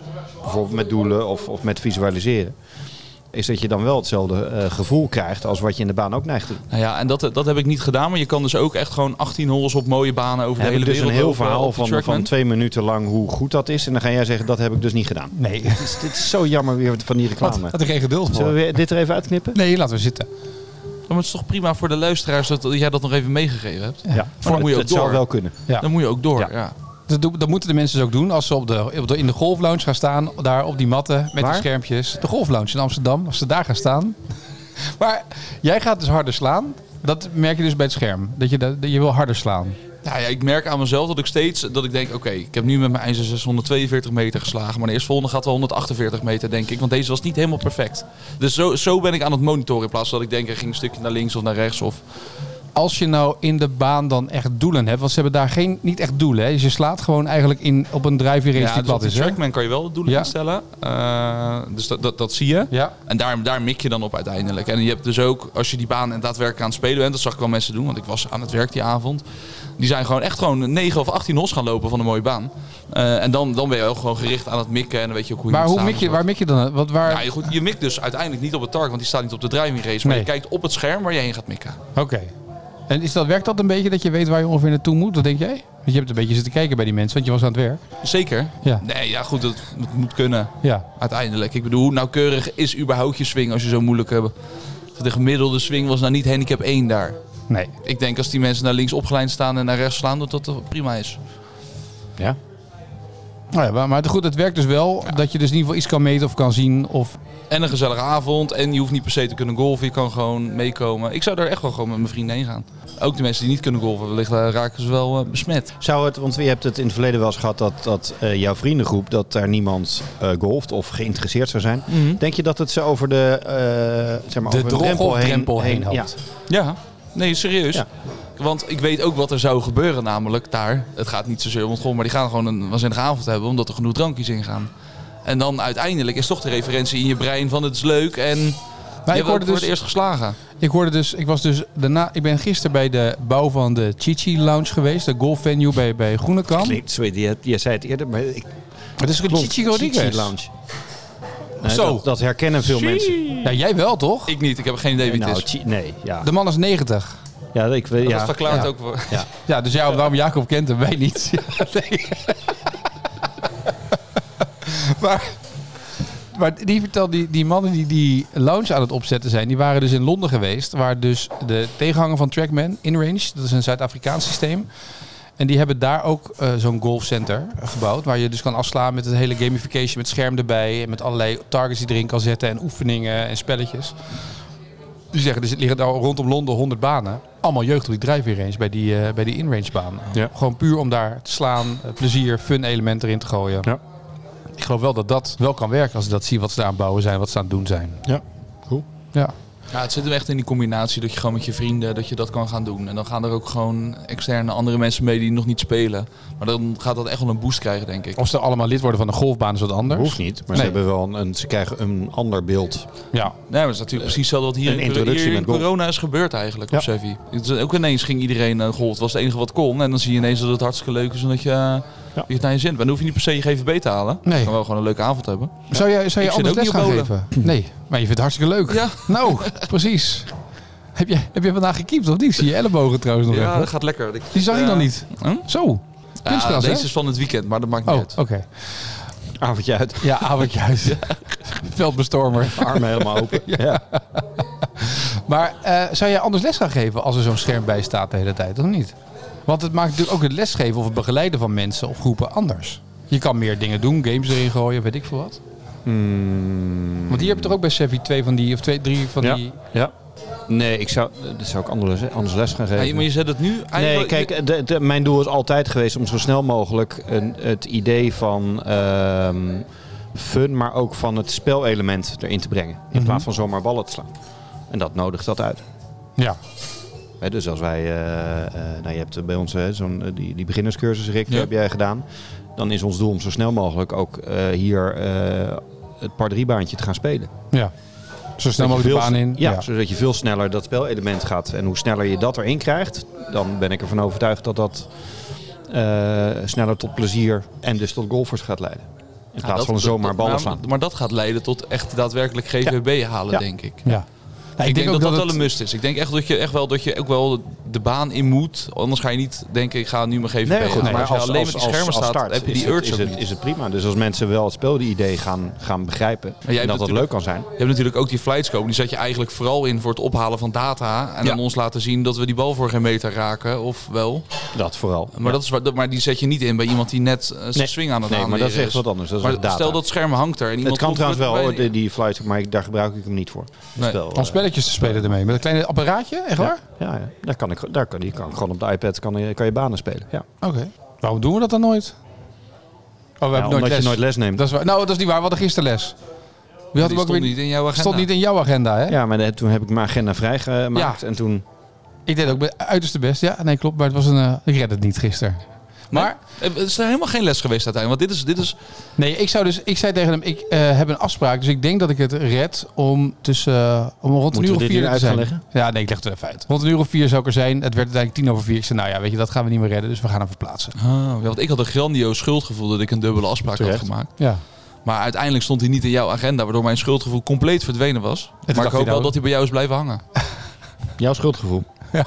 Speaker 3: Bijvoorbeeld met doelen of, of met visualiseren. Is dat je dan wel hetzelfde eh, gevoel krijgt als wat je in de baan ook neigt te doen.
Speaker 1: Nou ja, en dat, dat heb ik niet gedaan. Maar je kan dus ook echt gewoon 18 holes op mooie banen over
Speaker 3: We
Speaker 1: de hele
Speaker 3: hebben dus een
Speaker 1: wereld.
Speaker 3: heel
Speaker 1: lopen
Speaker 3: verhaal
Speaker 1: op de
Speaker 3: van,
Speaker 1: Trackman.
Speaker 3: van twee minuten lang hoe goed dat is. En dan ga jij zeggen, dat heb ik dus niet gedaan.
Speaker 2: Nee,
Speaker 3: Dit is, dit is zo jammer weer van die
Speaker 2: wat,
Speaker 3: reclame.
Speaker 2: had ik geen geduld
Speaker 3: Zullen
Speaker 2: voor.
Speaker 3: we weer dit er even uitknippen?
Speaker 2: Nee, laten we zitten.
Speaker 1: Ja, Maar het is toch prima voor de luisteraars dat dat jij dat nog even meegegeven hebt.
Speaker 3: Ja,
Speaker 1: dan moet je ook
Speaker 3: het zou
Speaker 1: door.
Speaker 3: wel kunnen.
Speaker 2: Ja.
Speaker 1: Dan moet je ook door.
Speaker 3: Ja.
Speaker 1: Ja.
Speaker 2: Dat, doen- dat moeten de mensen dus ook doen als ze op de, op de, in de golflounge gaan staan. Daar op die matten met
Speaker 3: Waar?
Speaker 2: die schermpjes. De golflounge in Amsterdam, als ze daar gaan staan. maar jij gaat dus harder slaan. Dat merk je dus bij het scherm. Dat je, dat, dat je wil harder slaan.
Speaker 1: Nou ja, ik merk aan mezelf dat ik steeds dat ik denk, oké, ik heb nu met mijn ijzer 642 meter geslagen, maar de eerstvolgende gaat wel 148 meter, denk ik, want deze was niet helemaal perfect. Dus zo, zo ben ik aan het monitoren in plaats van dat ik denk, er ging een stukje naar links of naar rechts of
Speaker 2: Als je nou in de baan dan echt doelen hebt, want ze hebben daar geen, niet echt doelen. Hè? Dus je slaat gewoon eigenlijk in, op een drijfveer race die
Speaker 1: dus op
Speaker 2: plat
Speaker 1: de
Speaker 2: is. Hè?
Speaker 1: trackman kan je wel doelen
Speaker 2: Ja.
Speaker 1: instellen, Eh, dus dat, dat, dat zie je.
Speaker 2: Ja.
Speaker 1: En daar, daar mik je dan op uiteindelijk. En je hebt dus ook, als je die baan en daadwerkelijk aan het spelen bent, dat zag ik wel mensen doen, want ik was aan het werk die avond. Die zijn gewoon echt gewoon 9 of 18 hols gaan lopen van een mooie baan. Eh, en dan, dan ben je ook gewoon gericht aan het mikken en dan weet je ook hoe je
Speaker 2: Maar
Speaker 1: moet
Speaker 2: hoe
Speaker 1: staan
Speaker 2: mik je,
Speaker 1: enzovoort.
Speaker 2: waar mik je dan? Wat, waar...
Speaker 1: Ja, je, goed, je mikt dus uiteindelijk niet op het target, want die staat niet op de driving race. Maar
Speaker 2: Nee.
Speaker 1: je kijkt op het scherm waar je heen gaat mikken.
Speaker 2: Oké. En is dat, werkt dat een beetje dat je weet waar je ongeveer naartoe moet? Dat denk jij? Want je hebt een beetje zitten kijken bij die mensen, want je was aan het werk.
Speaker 1: Zeker?
Speaker 2: Ja.
Speaker 1: Nee, ja goed, dat, dat moet kunnen
Speaker 2: Ja.
Speaker 1: uiteindelijk. Ik bedoel, hoe nauwkeurig is überhaupt je swing als je zo moeilijk hebt? De gemiddelde swing was nou niet handicap 1 daar.
Speaker 2: Nee.
Speaker 1: Ik denk als die mensen naar links opgeleid staan en naar rechts slaan, dat dat toch prima is.
Speaker 3: Ja.
Speaker 2: Nou ja, maar- maar goed, het werkt dus wel dat je dus in ieder geval iets kan meten of kan zien. Of,
Speaker 1: En een gezellige avond. En je hoeft niet per se te kunnen golven. Je kan gewoon meekomen. Ik zou daar echt wel gewoon met mijn vrienden heen gaan. Ook de mensen die niet kunnen golven, wellicht eh, raken ze wel eh, besmet.
Speaker 3: Zou het, want je hebt het in het verleden wel eens gehad dat, dat eh, jouw vriendengroep, dat daar niemand eh golft of geïnteresseerd zou zijn.
Speaker 2: Mhm.
Speaker 3: Denk je dat het ze over de, eh zeg maar,
Speaker 2: De
Speaker 3: over
Speaker 2: drog-
Speaker 3: drempel
Speaker 2: of
Speaker 3: heen,
Speaker 2: drempel heen
Speaker 3: ja.
Speaker 2: houdt.
Speaker 1: Ja, nee, serieus.
Speaker 3: Ja.
Speaker 1: Want ik weet ook wat er zou gebeuren, namelijk daar. Het gaat niet zozeer om het golven, maar die gaan gewoon een waanzinnige avond hebben, omdat er genoeg drankjes in gaan. En dan uiteindelijk is toch de referentie in je brein van het is leuk
Speaker 2: maar
Speaker 1: en je
Speaker 2: ik hoorde,
Speaker 1: wordt
Speaker 2: dus,
Speaker 1: het eerst geslagen.
Speaker 2: ik hoorde dus, ik was dus daarna, ik ben gisteren bij de bouw van de Chichi Lounge geweest, de golfvenue bij, bij Groenekam.
Speaker 3: Klinkt, sorry, je, je zei het eerder, maar ik
Speaker 2: Het is een Chichi Rodriguez.
Speaker 3: Lounge. Nee,
Speaker 2: Zo.
Speaker 3: Dat, dat herkennen veel mensen.
Speaker 2: Ja, jij wel toch?
Speaker 1: Ik niet, ik heb geen idee wie het
Speaker 3: Nou,
Speaker 1: is.
Speaker 3: chi- nee, ja.
Speaker 2: De man is 90.
Speaker 3: ja ik, weet-
Speaker 1: Dat
Speaker 3: ja.
Speaker 1: verklaart
Speaker 2: ja.
Speaker 1: ook wel.
Speaker 2: Ja, dus ja, waarom Jacob kent hem, wij niet. Ja, nee. maar maar die, vertelde, die, die mannen die die lounge aan het opzetten zijn, die waren dus in Londen geweest. Waar dus de tegenhanger van Trackman, InRange, dat is een Zuid-Afrikaans systeem. En die hebben daar ook eh, zo'n golfcenter gebouwd. Waar je dus kan afslaan met het hele gamification, met scherm erbij. En met allerlei targets die erin kan zetten en oefeningen en spelletjes. Die zeggen, er liggen daar rondom Londen 100 banen. Allemaal jeugd op die drijfweer range bij die, eh, bij die in-range baan.
Speaker 3: Ja.
Speaker 2: Gewoon puur om daar te slaan, eh, plezier, fun element erin te gooien.
Speaker 3: Ja.
Speaker 2: Ik geloof wel dat dat wel kan werken als ik dat zie wat ze daar aan het bouwen zijn, wat ze aan het doen zijn.
Speaker 3: Ja, cool.
Speaker 2: Ja.
Speaker 1: Ja, het zit hem echt in die combinatie dat je gewoon met je vrienden dat je dat kan gaan doen. En dan gaan er ook gewoon externe andere mensen mee die nog niet spelen. Maar dan gaat dat echt wel een boost krijgen, denk ik.
Speaker 2: Of ze allemaal lid worden van een golfbaan is wat anders.
Speaker 3: Hoeft niet, maar ze,
Speaker 2: Nee.
Speaker 3: hebben wel een- een, ze krijgen een ander beeld.
Speaker 2: Ja.
Speaker 1: Nee, maar het is natuurlijk precies hetzelfde wat hier
Speaker 3: een
Speaker 1: in,
Speaker 3: introductie
Speaker 1: hier in
Speaker 3: met golf.
Speaker 1: corona is gebeurd eigenlijk
Speaker 3: Ja.
Speaker 1: op Sevi. Het is Ook ineens ging iedereen eh, golf. Het was het enige wat kon. En dan zie je ineens dat het hartstikke leuk is en dat je, eh, dat je het naar je zin hebt. En dan hoef je niet per se je GVB te halen.
Speaker 2: Nee.
Speaker 1: Je kan wel gewoon een leuke avond hebben.
Speaker 2: Zou jij, zou jij
Speaker 1: Ik
Speaker 2: anders
Speaker 1: zit
Speaker 2: les
Speaker 1: ook
Speaker 2: gaan
Speaker 1: niet op
Speaker 2: geven? Nee, maar je vindt het hartstikke leuk.
Speaker 1: Ja,
Speaker 2: Nou, precies. Heb je, heb je vandaag gekiept of niet? Zie je ellebogen trouwens nog
Speaker 1: ja
Speaker 2: even.
Speaker 1: dat gaat lekker. Ik-
Speaker 2: Die zag je
Speaker 1: Ja.
Speaker 2: dan niet.
Speaker 1: Hm?
Speaker 2: Zo.
Speaker 1: Ja,
Speaker 2: Kunstgras, hè?
Speaker 1: deze is van het weekend, maar dat maakt niet
Speaker 2: Oh,
Speaker 1: uit.
Speaker 2: oké.
Speaker 3: Avondje uit,
Speaker 2: Ja, avondjuist. Veldbestormer.
Speaker 3: armen helemaal open. ja.
Speaker 2: Maar eh, zou jij anders les gaan geven als er zo'n scherm bij staat de hele tijd, of niet? Want het maakt natuurlijk ook het lesgeven of het begeleiden van mensen of groepen anders. Je kan meer dingen doen, games erin gooien, weet ik veel wat.
Speaker 3: Hmm.
Speaker 2: Want hier heb je toch ook bij Sevi twee van die, of twee, drie van
Speaker 3: Ja.
Speaker 2: die...
Speaker 3: ja. Nee, ik zou, eh, dat zou ik anders, anders les gaan geven.
Speaker 1: Ja, maar Ah, je zet het nu
Speaker 3: Nee,
Speaker 1: eigenlijk-
Speaker 3: kijk, de- de- mijn doel is altijd geweest om zo snel mogelijk een, het idee van ehm, fun, maar ook van het spelelement erin te brengen. In
Speaker 2: Mhm.
Speaker 3: plaats van zomaar ballen te slaan. En dat nodigt dat uit.
Speaker 2: Ja.
Speaker 3: Hè, dus als wij, eh, eh, nou je hebt bij ons hè, zo'n, eh, die, die beginnerscursus, Rick, die
Speaker 1: Ja.
Speaker 3: heb jij gedaan. Dan is ons doel om zo snel mogelijk ook eh, hier eh, het par 3 baantje te gaan spelen.
Speaker 2: ja. Zo snel
Speaker 3: Dat je
Speaker 2: mogelijk de
Speaker 3: veel
Speaker 2: baan in.
Speaker 3: sn- Ja, zodat je veel sneller dat spelelement gaat. En hoe sneller je dat erin krijgt, dan ben ik ervan overtuigd dat dat eh, sneller tot plezier en dus tot golfers gaat leiden. In plaats
Speaker 1: Ja, dat-
Speaker 3: van zomaar
Speaker 1: dat-
Speaker 3: ballen
Speaker 1: maar-
Speaker 3: slaan.
Speaker 1: Maar dat gaat leiden tot echt daadwerkelijk GVB halen,
Speaker 3: Ja.
Speaker 1: denk ik.
Speaker 2: Ja. Nou,
Speaker 1: ik, denk, dat dat,
Speaker 2: het-
Speaker 1: wel een must is. Ik denk echt dat je echt wel dat je ook wel de baan in moet. Anders ga je niet denken, ik ga nu mijn GVB
Speaker 3: Nee,
Speaker 1: halen.
Speaker 3: goed,
Speaker 1: maar
Speaker 3: maar
Speaker 1: als je
Speaker 3: als,
Speaker 1: alleen
Speaker 3: als,
Speaker 1: met die schermen
Speaker 3: als, als
Speaker 1: staat,
Speaker 3: start
Speaker 1: heb je
Speaker 3: is
Speaker 1: die
Speaker 3: het-
Speaker 1: urge
Speaker 3: is,
Speaker 1: ook
Speaker 3: het,
Speaker 1: niet.
Speaker 3: is het prima. Dus als mensen wel het spelidee gaan, gaan begrijpen
Speaker 1: jij
Speaker 3: en dat
Speaker 1: hebt
Speaker 3: dat leuk
Speaker 1: natuurlijk-
Speaker 3: kan zijn.
Speaker 1: Je hebt natuurlijk ook die flightscope. Die zet je eigenlijk vooral in voor het ophalen van data. En
Speaker 2: Ja.
Speaker 1: aan ons laten zien dat we die bal voor geen meter raken. Of wel.
Speaker 3: Dat vooral.
Speaker 1: Maar, dat is waar, dat- maar die zet je niet in bij iemand die net eh, zijn
Speaker 3: Nee.
Speaker 1: swing aan het
Speaker 3: Nee, maar
Speaker 1: aanleren
Speaker 3: dat is echt wat anders. Dat is
Speaker 1: Maar
Speaker 3: echt data.
Speaker 1: stel dat scherm hangt er. En iemand
Speaker 3: het kan
Speaker 1: komt
Speaker 3: trouwens
Speaker 1: er
Speaker 3: wel, oh, hoor,
Speaker 1: bij-
Speaker 3: die, die flight, maar ik- daar gebruik ik hem niet voor. Het
Speaker 1: Nee.
Speaker 3: spel,
Speaker 2: Als
Speaker 3: eh,
Speaker 2: spelletjes te spelen ermee. Met een klein apparaatje, echt waar?
Speaker 3: Ja, ja. Daar, kan ik, daar kan, je kan gewoon op de iPad kan, je- kan je banen spelen. Ja.
Speaker 2: Oké. Waarom doen we dat dan nooit? Oh, we
Speaker 3: Ja,
Speaker 2: hebben nooit les.
Speaker 3: je nooit les neemt.
Speaker 2: Dat is waar. Nou, dat is niet waar. We hadden gisteren les. Wie had
Speaker 1: Die
Speaker 2: hem ook
Speaker 1: stond
Speaker 2: weer...
Speaker 1: niet in jouw agenda.
Speaker 2: stond niet in jouw agenda, hè?
Speaker 3: Ja, maar de- toen heb ik mijn agenda vrijgemaakt.
Speaker 2: Ja.
Speaker 3: En toen,
Speaker 2: Ik deed ook mijn uiterste best. Ja, nee, klopt. Maar het was een... eh, ik red het niet gisteren. Maar
Speaker 1: Eh, Het is er helemaal geen les geweest uiteindelijk. Want dit is, dit is
Speaker 2: nee, ik zou dus, ik zei tegen hem, ik eh, heb een afspraak, dus ik denk dat ik het red om tussen eh, om rond een
Speaker 3: Moeten
Speaker 2: uur of
Speaker 3: we dit
Speaker 2: vier
Speaker 3: nu
Speaker 2: te
Speaker 3: uit gaan
Speaker 2: zijn.
Speaker 3: leggen?
Speaker 2: Ja, nee, ik leg het er even uit. Rond een uur of vier zou ik er zijn. Het werd uiteindelijk tien over vier. Ik zei, nou ja, weet je, dat gaan we niet meer redden, dus we gaan hem verplaatsen.
Speaker 1: Ah, ja, want ik had een grandioos schuldgevoel dat ik een dubbele afspraak
Speaker 3: Terecht.
Speaker 1: had gemaakt.
Speaker 2: Ja.
Speaker 1: Maar uiteindelijk stond hij niet in jouw agenda, waardoor mijn schuldgevoel compleet verdwenen was. maar
Speaker 2: dacht
Speaker 1: ik
Speaker 2: hij
Speaker 1: hoop wel
Speaker 2: nou-
Speaker 1: dat hij bij jou is blijven hangen.
Speaker 3: jouw schuldgevoel.
Speaker 2: We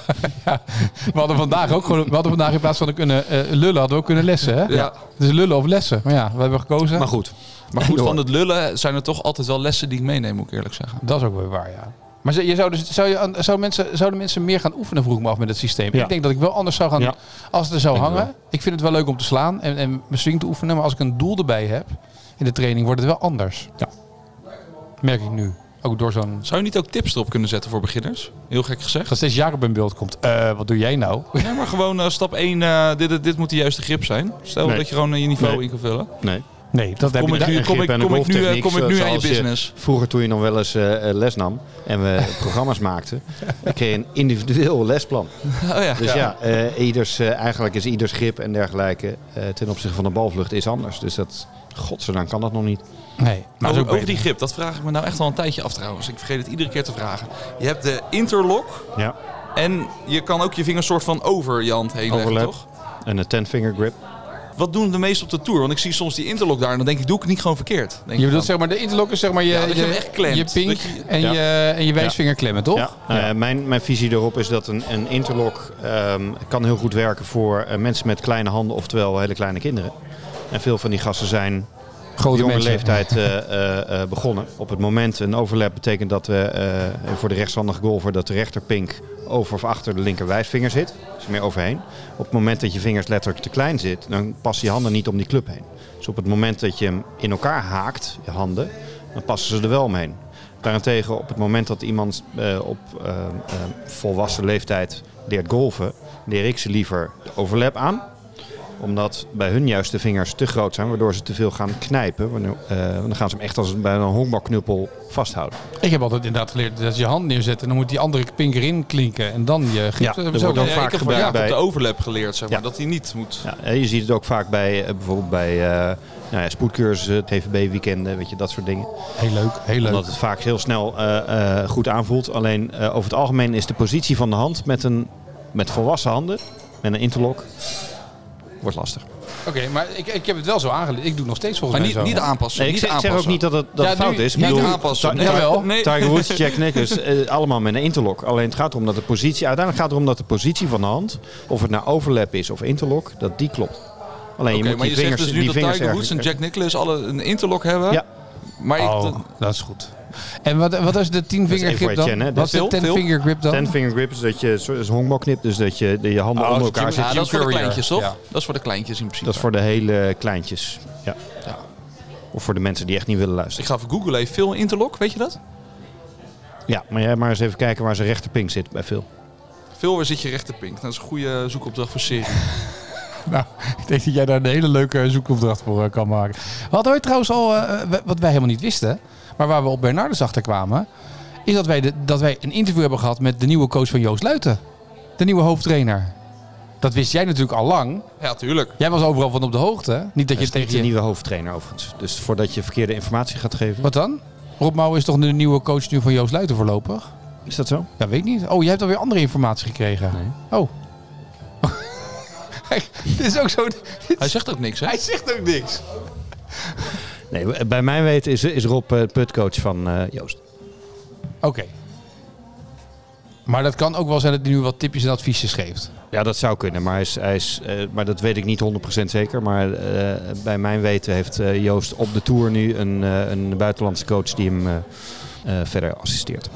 Speaker 2: hadden vandaag ook gewoon, we hadden vandaag in plaats van kunnen eh, lullen, hadden we ook kunnen lessen, hè?
Speaker 1: Ja.
Speaker 2: Dus lullen of lessen. Maar ja, we hebben gekozen.
Speaker 3: Maar goed.
Speaker 1: Maar goed,
Speaker 3: Door.
Speaker 1: van het lullen zijn er toch altijd wel lessen die ik meeneem, moet ik eerlijk zeggen.
Speaker 2: Dat is ook weer waar, ja. Maar ze- je zou dus, zou je, aan- zou mensen, zouden mensen meer gaan oefenen, vroeg ik me af, met het systeem?
Speaker 3: Ja.
Speaker 2: Ik denk dat ik wel anders zou gaan,
Speaker 3: Ja.
Speaker 2: als het er zou
Speaker 3: Denk ik
Speaker 2: hangen. Ik vind het wel leuk om te slaan en, en mijn swing te oefenen. Maar als ik een doel erbij heb in de training, wordt het wel anders.
Speaker 3: Ja.
Speaker 2: Merk ik nu. Ook door zo'n...
Speaker 1: Zou je niet ook tips erop kunnen zetten voor beginners? Heel gek gezegd.
Speaker 2: Als steeds Jacob in beeld komt. Eh, wat doe jij nou?
Speaker 1: Nee, maar gewoon eh, stap 1, dit, dit- dit moet de juiste grip zijn. Stel
Speaker 3: Nee.
Speaker 1: dat je gewoon eh, je niveau
Speaker 3: Nee.
Speaker 1: in kan vullen.
Speaker 3: Nee.
Speaker 2: Nee, dat heb
Speaker 1: Kom
Speaker 2: je
Speaker 1: ik
Speaker 2: daar-
Speaker 1: nu,
Speaker 3: een
Speaker 1: kom
Speaker 3: grip
Speaker 1: ik,
Speaker 3: en een
Speaker 1: kom ik nu, eh, kom ik
Speaker 3: golftechniek,
Speaker 1: nu aan je
Speaker 3: zoals je-
Speaker 1: business?
Speaker 3: Vroeger toen je nog wel eens eh, eh, les nam en we programma's maakten, dan kreeg je een individueel lesplan.
Speaker 1: Oh ja.
Speaker 3: Dus ja, eh, ieders, eh, eigenlijk is ieders grip en dergelijke eh, ten opzichte van de balvlucht is anders. Dus dat, godzijdank kan dat nog niet.
Speaker 2: Nee, maar
Speaker 1: over,
Speaker 2: dat is ook
Speaker 1: over die
Speaker 2: beter.
Speaker 1: grip, dat vraag ik me nou echt al een tijdje af trouwens. Ik vergeet het iedere keer te vragen. Je hebt de interlock
Speaker 3: Ja.
Speaker 1: en je kan ook je vinger soort van over je hand heen leggen,
Speaker 3: Overlap.
Speaker 1: toch?
Speaker 3: En een ten finger grip.
Speaker 1: Wat doen de meesten op de tour? Want ik zie soms die interlock daar en dan denk ik, doe ik het niet gewoon verkeerd? Denk
Speaker 2: Je
Speaker 1: ik
Speaker 2: bedoelt
Speaker 1: dan.
Speaker 2: zeg maar de interlock is zeg maar je,
Speaker 1: Ja, dat je hem echt
Speaker 2: je,
Speaker 1: klemt.
Speaker 2: je pink
Speaker 1: Dat je-
Speaker 2: en,
Speaker 3: Ja.
Speaker 2: je, en je wijsvinger klemmen, toch?
Speaker 3: Ja. Eh, mijn, mijn visie daarop is dat een, een interlock ehm, kan heel goed werken voor eh, mensen met kleine handen, oftewel hele kleine kinderen. En veel van die gasten zijn
Speaker 2: Grote
Speaker 3: jonge
Speaker 2: mensen.
Speaker 3: leeftijd eh, eh, eh, begonnen. Op het moment een overlap betekent dat we eh, voor de rechtshandige golfer dat de rechterpink over of achter de linker wijsvinger zit. Dus meer overheen. Op het moment dat je vingers letterlijk te klein zit, dan passen je handen niet om die club heen. Dus op het moment dat je hem in elkaar haakt, je handen, dan passen ze er wel omheen. Daarentegen, op het moment dat iemand eh, op eh, eh, volwassen leeftijd leert golven, leer ik ze liever de overlap aan omdat bij hun juist de vingers te groot zijn, waardoor ze te veel gaan knijpen. Wanneer- eh, dan gaan ze hem echt als een- bij een honkbalknuppel vasthouden.
Speaker 2: Ik heb altijd inderdaad geleerd dat je je hand neerzet en dan moet die andere pink erin klinken en dan je grip.
Speaker 3: Ja,
Speaker 2: Zo-
Speaker 3: dat
Speaker 2: zo-
Speaker 3: wordt ook
Speaker 1: ja,
Speaker 3: vaak
Speaker 1: ik heb
Speaker 3: gebruikt
Speaker 1: ja,
Speaker 3: bij-
Speaker 1: de overlap geleerd, zeg maar,
Speaker 3: Ja.
Speaker 1: dat hij niet moet.
Speaker 3: Ja, eh, je ziet het ook vaak bij eh, bijvoorbeeld bij eh nou ja, spoedcursussen, TVB-weekenden, weet je, dat soort dingen.
Speaker 2: Heel leuk, heel leuk.
Speaker 3: Omdat het vaak heel snel eh, eh, goed aanvoelt. Alleen eh, over het algemeen is de positie van de hand met, een, met volwassen handen, met een interlock, wordt lastig.
Speaker 2: Oké, maar ik, ik heb het wel zo aangeleerd. Ik doe nog steeds
Speaker 1: Maar
Speaker 2: volgens
Speaker 1: niet,
Speaker 2: mij
Speaker 1: niet
Speaker 2: zo.
Speaker 1: aanpassen.
Speaker 3: Nee, ik,
Speaker 1: niet
Speaker 3: zeg, ik zeg ook
Speaker 1: aanpassen.
Speaker 3: niet dat het dat
Speaker 2: Ja,
Speaker 3: het fout
Speaker 2: nu-
Speaker 3: is. Ik
Speaker 2: niet
Speaker 3: bedoel,
Speaker 1: aanpassen.
Speaker 3: Ti-
Speaker 2: Jawel.
Speaker 3: Ti- Tiger Woods, Jack Nicklaus, eh, allemaal met een interlock. Alleen het gaat erom dat de positie, uiteindelijk gaat het erom dat de positie van de hand, of het nou overlap is of interlock, dat die klopt. Alleen
Speaker 1: Oké,
Speaker 3: je moet
Speaker 1: maar
Speaker 3: die
Speaker 1: je zegt
Speaker 3: vingers,
Speaker 1: dus nu
Speaker 3: die
Speaker 1: dat
Speaker 3: vingers
Speaker 1: Tiger Woods en
Speaker 3: ergens- eh,
Speaker 1: Jack Nicklaus alle een interlock hebben.
Speaker 3: Ja.
Speaker 1: Maar ik-
Speaker 2: Oh, dat is goed. En wat, wat is de 10
Speaker 3: even
Speaker 2: finger
Speaker 3: voor
Speaker 2: grip
Speaker 3: je
Speaker 2: dan?
Speaker 3: chin, hè.
Speaker 2: Wat is de
Speaker 1: Phil,
Speaker 2: 10
Speaker 1: Phil.
Speaker 2: finger grip dan?
Speaker 3: Ten finger grip is dat je zo- is een honkbal knipt, dus dat je de, je handen
Speaker 2: Oh,
Speaker 3: onder
Speaker 2: Jim-
Speaker 3: elkaar
Speaker 1: Ja,
Speaker 3: zit.
Speaker 2: Jim
Speaker 1: dat is voor de
Speaker 2: Courier.
Speaker 1: kleintjes, toch?
Speaker 2: Ja.
Speaker 1: Dat is voor de kleintjes in principe.
Speaker 3: Dat is voor de hele kleintjes. Ja.
Speaker 1: Ja.
Speaker 3: Of voor de mensen die echt niet willen luisteren.
Speaker 1: Ik ga even googlen. Heeft Phil een interlock, weet je dat?
Speaker 3: Ja, maar jij maar eens even kijken waar zijn rechterpink zit bij Phil.
Speaker 1: Phil, waar zit je rechterpink? Dat is een goede zoekopdracht voor serie.
Speaker 2: Nou, ik denk dat jij daar een hele leuke zoekopdracht voor eh, kan maken. We hadden ooit trouwens al, eh, we- wat wij helemaal niet wisten, maar waar we op Bernardus achter kwamen, is dat wij, de, dat wij een interview hebben gehad met de nieuwe coach van Joost Luiten. De nieuwe hoofdtrainer. Dat wist jij natuurlijk al lang.
Speaker 1: Ja, tuurlijk.
Speaker 2: Jij was overal van op de hoogte. Niet dat
Speaker 3: Dat
Speaker 2: je
Speaker 3: is niet
Speaker 2: tegen
Speaker 3: de
Speaker 2: je...
Speaker 3: nieuwe hoofdtrainer overigens. Dus voordat je verkeerde informatie gaat geven.
Speaker 2: Wat dan? Rob Mouw is toch de nieuwe coach nu van Joost Luiten voorlopig?
Speaker 3: Is dat zo?
Speaker 2: Dat weet ik niet. Oh, jij hebt alweer andere informatie gekregen. Oh. Kijk, dit is ook zo...
Speaker 1: Hij zegt ook niks, hè?
Speaker 2: Hij zegt ook niks.
Speaker 3: Nee, bij mijn weten is, is Rob eh, de putcoach van eh, Joost.
Speaker 2: Oké. Maar dat kan ook wel zijn dat hij nu wat tipjes en adviesjes geeft.
Speaker 3: Ja, dat zou kunnen, maar, hij is, hij is, eh, maar dat weet ik niet 100% zeker. Maar eh, bij mijn weten heeft eh, Joost op de Tour nu een, eh, een buitenlandse coach die hem eh, eh, verder assisteert.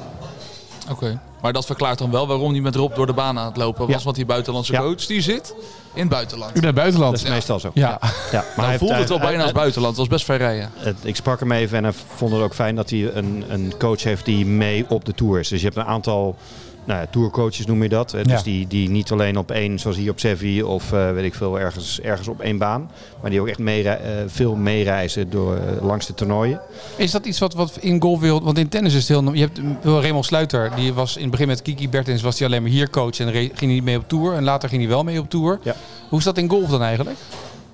Speaker 1: Oké. Maar dat verklaart dan wel waarom hij met Rob door de baan aan het lopen was.
Speaker 3: Ja.
Speaker 1: Want die buitenlandse
Speaker 3: Ja.
Speaker 1: coach die zit in het buitenland.
Speaker 2: U naar het buitenland.
Speaker 3: Dat is meestal zo.
Speaker 2: ja.
Speaker 3: Ja, maar
Speaker 1: Dan
Speaker 3: hij
Speaker 1: voelde het
Speaker 3: heeft-
Speaker 1: wel
Speaker 3: hij-
Speaker 1: bijna als
Speaker 3: hij-
Speaker 1: buitenland. Het was best ver rijden.
Speaker 3: het- Ik sprak hem even en hij vond het ook fijn dat hij een, een coach heeft die mee op de tour is. Dus je hebt een aantal nou ja, tourcoaches noem je dat. Hè? Dus
Speaker 2: Ja.
Speaker 3: die, die niet alleen op één, zoals hier op Sevi of eh, weet ik veel, ergens, ergens op één baan. Maar die ook echt mee, eh, veel meereizen door, eh, langs de toernooien.
Speaker 2: Is dat iets wat, wat in golf wil? Want in tennis is het heel... no- Je hebt mm, wel Raymond Sluiter. Die was in het begin met Kiki Bertens was hij alleen maar hier coach. En re- ging hij niet mee op tour. En later ging hij wel mee op tour.
Speaker 3: Ja.
Speaker 2: Hoe is dat in golf dan eigenlijk?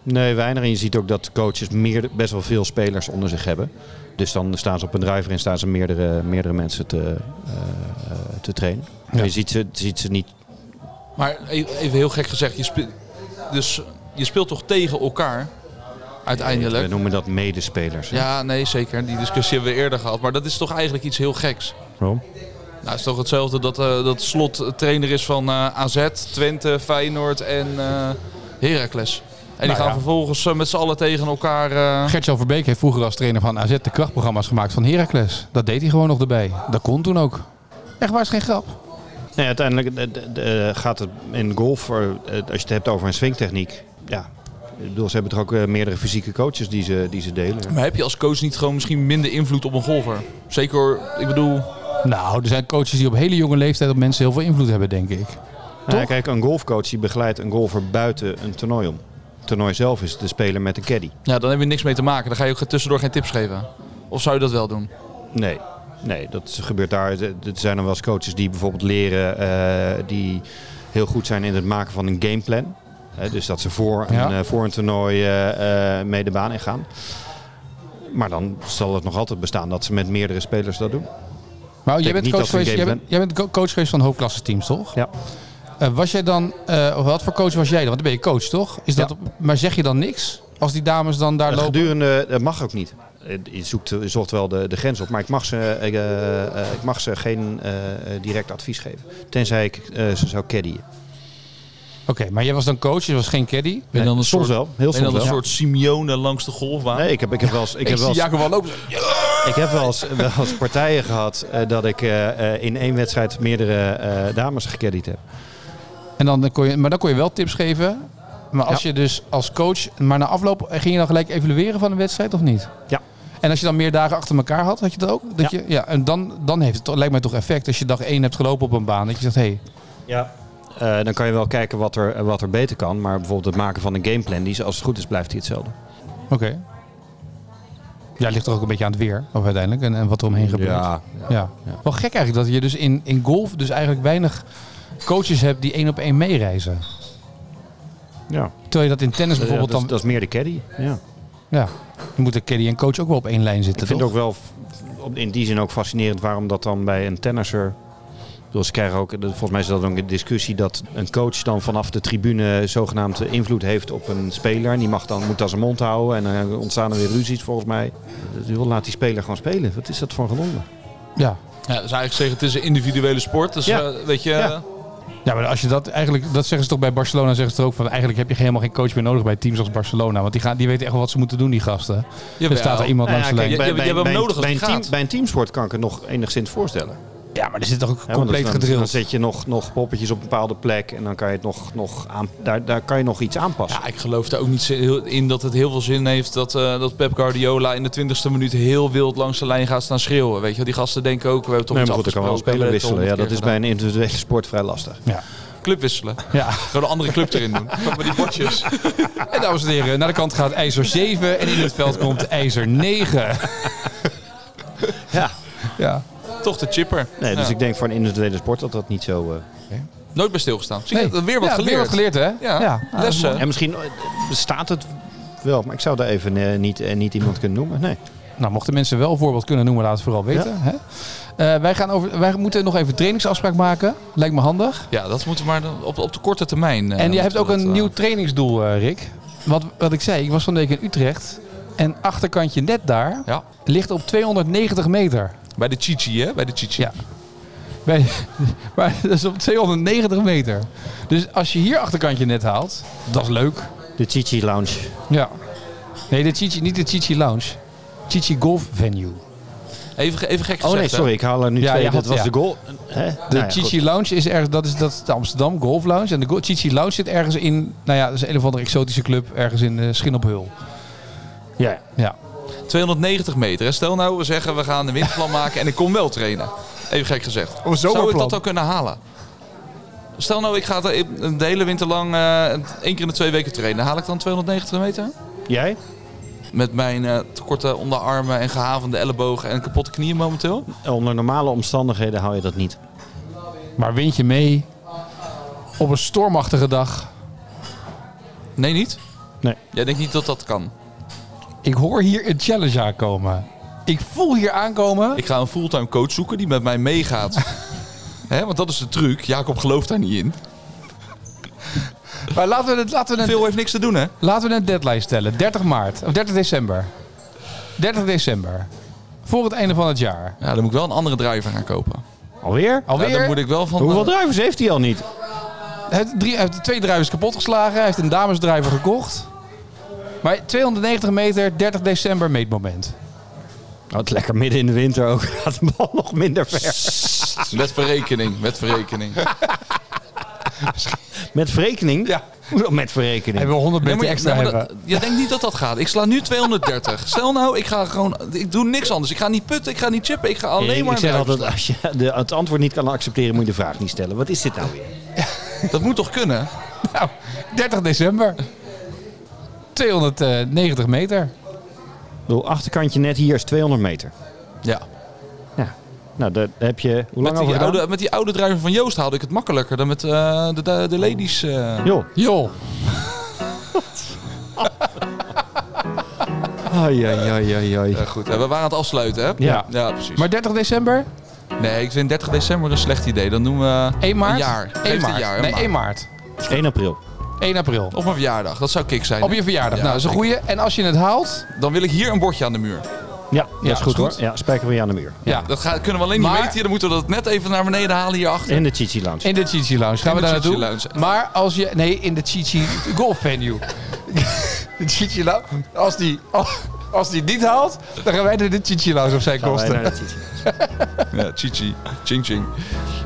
Speaker 3: Nee, weinig. En je ziet ook dat coaches meer, best wel veel spelers onder zich hebben. Dus dan staan ze op een driver en staan ze meerdere, meerdere mensen te, eh, eh, te trainen.
Speaker 2: Ja.
Speaker 3: Je ziet ze, ziet ze niet.
Speaker 1: Maar e- even heel gek gezegd, je speelt, dus je speelt toch tegen elkaar
Speaker 3: We
Speaker 1: uiteindelijk?
Speaker 3: noemen dat medespelers. hè?
Speaker 1: Ja, nee, zeker. Die discussie hebben we eerder gehad. Maar dat is toch eigenlijk iets heel geks?
Speaker 3: Waarom?
Speaker 1: Nou, het is toch hetzelfde dat, eh, dat Slot trainer is van eh, AZ, Twente, Feyenoord en eh Heracles. En die
Speaker 2: Nou
Speaker 1: gaan
Speaker 2: ja.
Speaker 1: vervolgens eh, met z'n allen tegen elkaar... eh,
Speaker 2: Gert-Jan Verbeek heeft vroeger als trainer van AZ de krachtprogramma's gemaakt van Heracles. Dat deed hij gewoon nog erbij. Dat kon toen ook. Echt waar is geen grap.
Speaker 3: Nee, uiteindelijk eh, d- d- eh, gaat het in golf, eh, eh, als je het hebt over een swingtechniek. Ja. Ik bedoel, ze hebben toch ook eh, meerdere fysieke coaches die ze, die ze delen.
Speaker 1: Maar heb je als coach niet gewoon misschien minder invloed op een golfer? Zeker, ik bedoel...
Speaker 2: Nou, er zijn coaches die op hele jonge leeftijd op mensen heel veel invloed hebben, denk ik.
Speaker 3: Nou,
Speaker 2: Toch?
Speaker 3: kijk, een golfcoach die begeleidt een golfer buiten een toernooi om. Het toernooi zelf is de speler met een caddy.
Speaker 1: Ja, dan heb je niks mee te maken. Dan ga je ook tussendoor geen tips geven. Of zou je dat wel doen?
Speaker 3: Nee, nee, dat gebeurt daar. Er er zijn dan wel eens coaches die bijvoorbeeld leren, eh, die heel goed zijn in het maken van een gameplan. Hè, dus dat ze voor,
Speaker 2: Ja.
Speaker 3: een, eh, voor een toernooi eh, eh, mee de baan ingaan. Maar dan zal het nog altijd bestaan dat ze met meerdere spelers dat doen.
Speaker 2: Maar jij
Speaker 3: denk
Speaker 2: bent,
Speaker 3: niet
Speaker 2: coach
Speaker 3: dat ik
Speaker 2: geweest, jij,
Speaker 3: een
Speaker 2: bent, jij bent co- coach geweest van hoofdklasseteams, toch?
Speaker 3: Ja.
Speaker 2: Eh, was jij dan, eh, of wat voor coach was jij dan? Want dan ben je coach, toch? Is dat,
Speaker 3: Ja.
Speaker 2: op- maar zeg je dan niks als die dames dan daar
Speaker 3: Eh,
Speaker 2: lopen?
Speaker 3: Gedurende, dat mag ook niet. Eh, Je zoekt, je zocht wel de, de grens op, maar ik mag ze, eh, eh, eh, ik mag ze geen eh, eh, direct advies geven. Tenzij ik eh, ze zou caddyen.
Speaker 2: Oké, maar jij was dan coach, je was geen caddy.
Speaker 1: Ben je dan een
Speaker 3: soms
Speaker 1: soort,
Speaker 3: wel, heel
Speaker 1: ben je
Speaker 3: soms
Speaker 1: dan
Speaker 3: wel.
Speaker 1: een soort Simeone langs de golfbaan?
Speaker 3: Nee, ik heb, ik heb wel eens, ik heb wel eens-
Speaker 2: Jacob wel lopen.
Speaker 3: Ik heb wel eens, eh, wel eens partijen gehad eh, dat ik eh, eh, in één wedstrijd meerdere eh, dames gecaddied heb.
Speaker 2: En dan kon je, maar dan kon je wel tips geven. Maar als je dus als coach, maar na afloop, eh, ging je dan gelijk evalueren van de wedstrijd of niet?
Speaker 3: Ja.
Speaker 2: En als je dan meer dagen achter elkaar had, had je dat ook? Dat
Speaker 3: Ja.
Speaker 2: Je, ja, en dan, dan heeft het toch- lijkt mij toch effect als je dag één hebt gelopen op een baan. Dat je zegt, hé, hey,
Speaker 3: Ja. Eh, dan kan je wel kijken wat er, eh, wat er beter kan. Maar bijvoorbeeld het maken van een gameplan, die, is- als het goed is, blijft die hetzelfde.
Speaker 2: oké. Ja, het ligt toch ook een beetje aan het weer, of uiteindelijk, en, en wat er omheen gebeurt. Ja.
Speaker 3: Ja.
Speaker 2: Wel gek eigenlijk dat je dus in, in golf dus eigenlijk weinig coaches hebt die één op één meereizen.
Speaker 3: ja.
Speaker 2: Terwijl je dat in tennis bijvoorbeeld
Speaker 3: dat, is,
Speaker 2: dan...
Speaker 3: dat is meer de caddy. Ja.
Speaker 2: Ja, dan moet de caddy en coach ook wel op één lijn zitten,
Speaker 3: Ik vind
Speaker 2: toch?
Speaker 3: het ook wel f- op- in die zin ook fascinerend waarom dat dan bij een tennisser... Ik bedoel, Ze krijgen ook, volgens mij is dat ook een discussie dat een coach dan vanaf de tribune zogenaamd invloed heeft op een speler. En die mag dan, moet dan zijn mond houden en dan ontstaan er weer ruzies volgens mij. Je wil laat die speler gewoon spelen. Wat is dat voor een gedonder?
Speaker 1: Nou
Speaker 2: Ja.
Speaker 1: Ja, dus eigenlijk zeggen het is een individuele sport. Dus
Speaker 3: Ja.
Speaker 1: eh, weet je,
Speaker 3: Ja.
Speaker 1: eh,
Speaker 2: ja, maar als je dat eigenlijk... Dat zeggen ze toch bij Barcelona, zeggen ze er ook van... Eigenlijk heb je helemaal geen coach meer nodig bij teams als Barcelona. Want die, gaan, die weten echt wel wat ze moeten doen, die gasten.
Speaker 1: jawel.
Speaker 2: Er staat er iemand
Speaker 3: Nou
Speaker 2: langs
Speaker 3: ja,
Speaker 2: de lijn.
Speaker 3: kijk, bij-
Speaker 1: Je- je-
Speaker 3: bij-
Speaker 1: je hebt hem
Speaker 3: bij een-
Speaker 1: nodig als
Speaker 3: bij een
Speaker 1: die
Speaker 3: team-
Speaker 1: gaat.
Speaker 3: Bij een teamsport kan ik het nog enigszins voorstellen.
Speaker 2: Ja, maar er zit toch ook
Speaker 3: Ja, want
Speaker 2: compleet
Speaker 3: dan- dan, dan
Speaker 2: gedrild.
Speaker 3: zet je nog, nog poppetjes op een bepaalde plek en dan kan je het nog, nog aan, daar, daar kan je nog iets aanpassen.
Speaker 1: Ja, ik geloof daar ook niet zo heel- in dat het heel veel zin heeft dat, eh, dat Pep Guardiola in de 20ste minuut heel wild langs de lijn gaat staan schreeuwen. Weet je, wel. die gasten denken ook, we hebben toch
Speaker 3: Nee,
Speaker 1: iets
Speaker 3: maar goed, dan kan wel
Speaker 1: afgesproken, we
Speaker 3: spelen wisselen.
Speaker 1: hebben het
Speaker 3: Ja,
Speaker 1: honderd
Speaker 3: dat is
Speaker 1: keer
Speaker 3: bij een individuele sport vrij lastig.
Speaker 2: Ja.
Speaker 1: gedaan. Club wisselen.
Speaker 2: ja.
Speaker 1: Gewoon een andere club erin doen. Met die bordjes.
Speaker 2: En dames en heren, naar de kant gaat ijzer 7 en in het veld komt ijzer 9.
Speaker 3: Ja.
Speaker 2: Ja.
Speaker 1: Toch de chipper.
Speaker 3: Nee, dus
Speaker 1: Ja.
Speaker 3: ik denk voor een individuele sport dat dat niet zo... eh,
Speaker 1: Nooit bij stilgestaan. Zie je,
Speaker 2: Nee.
Speaker 1: dat- weer wat
Speaker 2: Ja,
Speaker 1: geleerd.
Speaker 2: Dus Weer wat geleerd, hè?
Speaker 1: Ja, lessen.
Speaker 3: En misschien eh, bestaat het wel, maar ik zou daar even eh, niet, eh, niet iemand kunnen noemen. Nee.
Speaker 2: Nou, mochten mensen wel een voorbeeld kunnen noemen, laat het vooral weten. Hè? Eh, wij, gaan over, wij moeten nog even een trainingsafspraak maken. Lijkt me handig.
Speaker 1: Ja, dat moeten we maar dan op, op de korte termijn. eh,
Speaker 2: en jij
Speaker 1: moeten
Speaker 2: hebt ook
Speaker 1: we
Speaker 2: een
Speaker 1: dat, eh,
Speaker 2: nieuw trainingsdoel, eh, Rick. Wat, wat ik zei, ik was van de week in Utrecht. En achterkantje net daar
Speaker 1: Ja,
Speaker 2: ligt op 290 meter.
Speaker 1: bij de Chichi, hè? Bij de Chichi.
Speaker 2: Ja. Bij, maar dat is op 290 meter. Dus als je hier achterkantje net haalt, dat is leuk.
Speaker 3: De Chichi Lounge.
Speaker 2: Ja. Nee, de Chichi, niet de Chichi Lounge. Chichi Golf Venue.
Speaker 1: Even, even gek
Speaker 3: Oh
Speaker 1: gezegd.
Speaker 3: nee,
Speaker 1: hè?
Speaker 3: sorry, ik haal er nu
Speaker 2: Ja,
Speaker 3: twee.
Speaker 2: je
Speaker 3: Dat
Speaker 2: had-
Speaker 3: was
Speaker 2: ja.
Speaker 3: de goal. Hè?
Speaker 2: De
Speaker 3: Nou ja,
Speaker 2: Chichi
Speaker 3: goed.
Speaker 2: Lounge is ergens, dat is, dat is de Amsterdam Golf Lounge. En de Go- Chichi Lounge zit ergens in, nou ja, dat is een of andere exotische club ergens in eh Schin op Hul.
Speaker 3: Ja.
Speaker 2: Ja.
Speaker 1: 290 meter. hè. Stel nou, we zeggen we gaan een windplan maken en ik kom wel trainen. Even gek gezegd.
Speaker 2: een
Speaker 1: Zou ik
Speaker 2: zomerplan.
Speaker 1: dat al kunnen halen? Stel nou, ik ga de, de hele winter lang eh, één keer in de twee weken trainen. Haal ik dan 290 meter?
Speaker 3: Jij?
Speaker 1: Met mijn eh, tekorten onderarmen en gehavende ellebogen en kapotte knieën momenteel?
Speaker 3: Onder normale omstandigheden hou je dat niet.
Speaker 2: Maar wind je mee op een stormachtige dag.
Speaker 1: Nee, niet?
Speaker 3: Nee.
Speaker 1: Jij denkt niet dat dat kan?
Speaker 2: Ik hoor hier een challenge aankomen. Ik voel hier aankomen.
Speaker 1: Ik ga een fulltime coach zoeken die met mij meegaat. Hè, want dat is de truc. Jacob gelooft daar niet in.
Speaker 2: Maar laten we, het, laten, we een,
Speaker 1: Veel heeft niks te doen, hè?
Speaker 2: laten we een deadline stellen. 30 maart. Of 30 december. 30 december. Voor het einde van het jaar.
Speaker 1: Ja, dan moet ik wel een andere driver gaan kopen.
Speaker 3: Alweer?
Speaker 1: Ja,
Speaker 2: Alweer?
Speaker 1: dan moet ik wel van... eh,
Speaker 3: Hoeveel drivers heeft hij al niet?
Speaker 2: Hij heeft, drie, hij heeft twee drivers kapot geslagen. Hij heeft een damesdrijver gekocht. Maar 290 meter, 30 december meetmoment.
Speaker 3: Oh, het is lekker midden in de winter ook. Gaat de bal nog minder ver.
Speaker 1: Met verrekening, met verrekening.
Speaker 3: Met verrekening?
Speaker 2: Ja.
Speaker 3: Hoezo met verrekening?
Speaker 2: Hij wil 100 meter
Speaker 1: Nee, maar-
Speaker 2: extra
Speaker 1: nee, maar
Speaker 2: hebben.
Speaker 1: dat- je denkt niet dat dat gaat. Ik sla nu 230. Stel nou, ik ga gewoon... Ik doe niks anders. Ik ga niet putten, ik ga niet chippen. Ik ga alleen
Speaker 3: Ik-
Speaker 1: maar...
Speaker 3: ik zeg
Speaker 1: drivers
Speaker 3: altijd, als je de, het antwoord niet kan accepteren, moet je de vraag niet stellen. Wat is dit nou weer?
Speaker 1: slaan. Dat moet toch kunnen?
Speaker 2: Nou, 30 december. 290 meter.
Speaker 3: Ik bedoel, achterkantje net hier is 200 meter.
Speaker 1: Ja.
Speaker 3: Ja. Nou, daar heb je... Hoe lang
Speaker 1: Met die,
Speaker 3: over gedaan?
Speaker 1: oude, met die oude driver van Joost haalde ik het makkelijker dan met eh, de, de, de ladies. eh.
Speaker 3: Joh.
Speaker 2: Joh.
Speaker 3: Ai, ai, ai, ai, ai.
Speaker 1: Ja, goed, hè, we waren aan het afsluiten, hè?
Speaker 3: Ja.
Speaker 1: Ja, precies.
Speaker 2: Maar 30 december?
Speaker 1: Nee, ik vind 30 december een slecht idee. Dan doen we
Speaker 2: 1 maart?
Speaker 1: een jaar.
Speaker 2: 1
Speaker 1: Geeft een
Speaker 2: maart.
Speaker 1: jaar, een
Speaker 2: nee,
Speaker 1: maand.
Speaker 2: 1 maart.
Speaker 3: 1 april.
Speaker 2: 1 april.
Speaker 1: Op mijn verjaardag. Dat zou kick zijn.
Speaker 2: Op je verjaardag.
Speaker 1: Ja,
Speaker 2: nou, dat is een goeie. En als je het haalt...
Speaker 1: Dan wil ik hier een bordje aan de muur.
Speaker 3: Ja, dat is goed, hoor. Ja, spijker weer aan de muur.
Speaker 2: Ja.
Speaker 1: Dat gaan- kunnen we alleen niet
Speaker 2: Maar-
Speaker 1: weten. hier. Dan moeten we dat net even naar beneden halen hierachter.
Speaker 3: In de Chichi Lounge.
Speaker 2: In de Chichi Lounge. Gaan
Speaker 1: In
Speaker 2: we
Speaker 1: de
Speaker 2: daar
Speaker 1: Chichi
Speaker 2: naartoe?
Speaker 1: Lounge.
Speaker 2: Maar als je... Nee, in de Chichi Golf Venue. de Chichi Lounge. Als die, als die niet haalt, dan gaan wij naar de Chichi Lounge op zijn
Speaker 3: Gaan wij
Speaker 2: kosten.
Speaker 1: 呃
Speaker 3: naar de Chichi Lounge.
Speaker 1: Ja, chichi. Ching ching.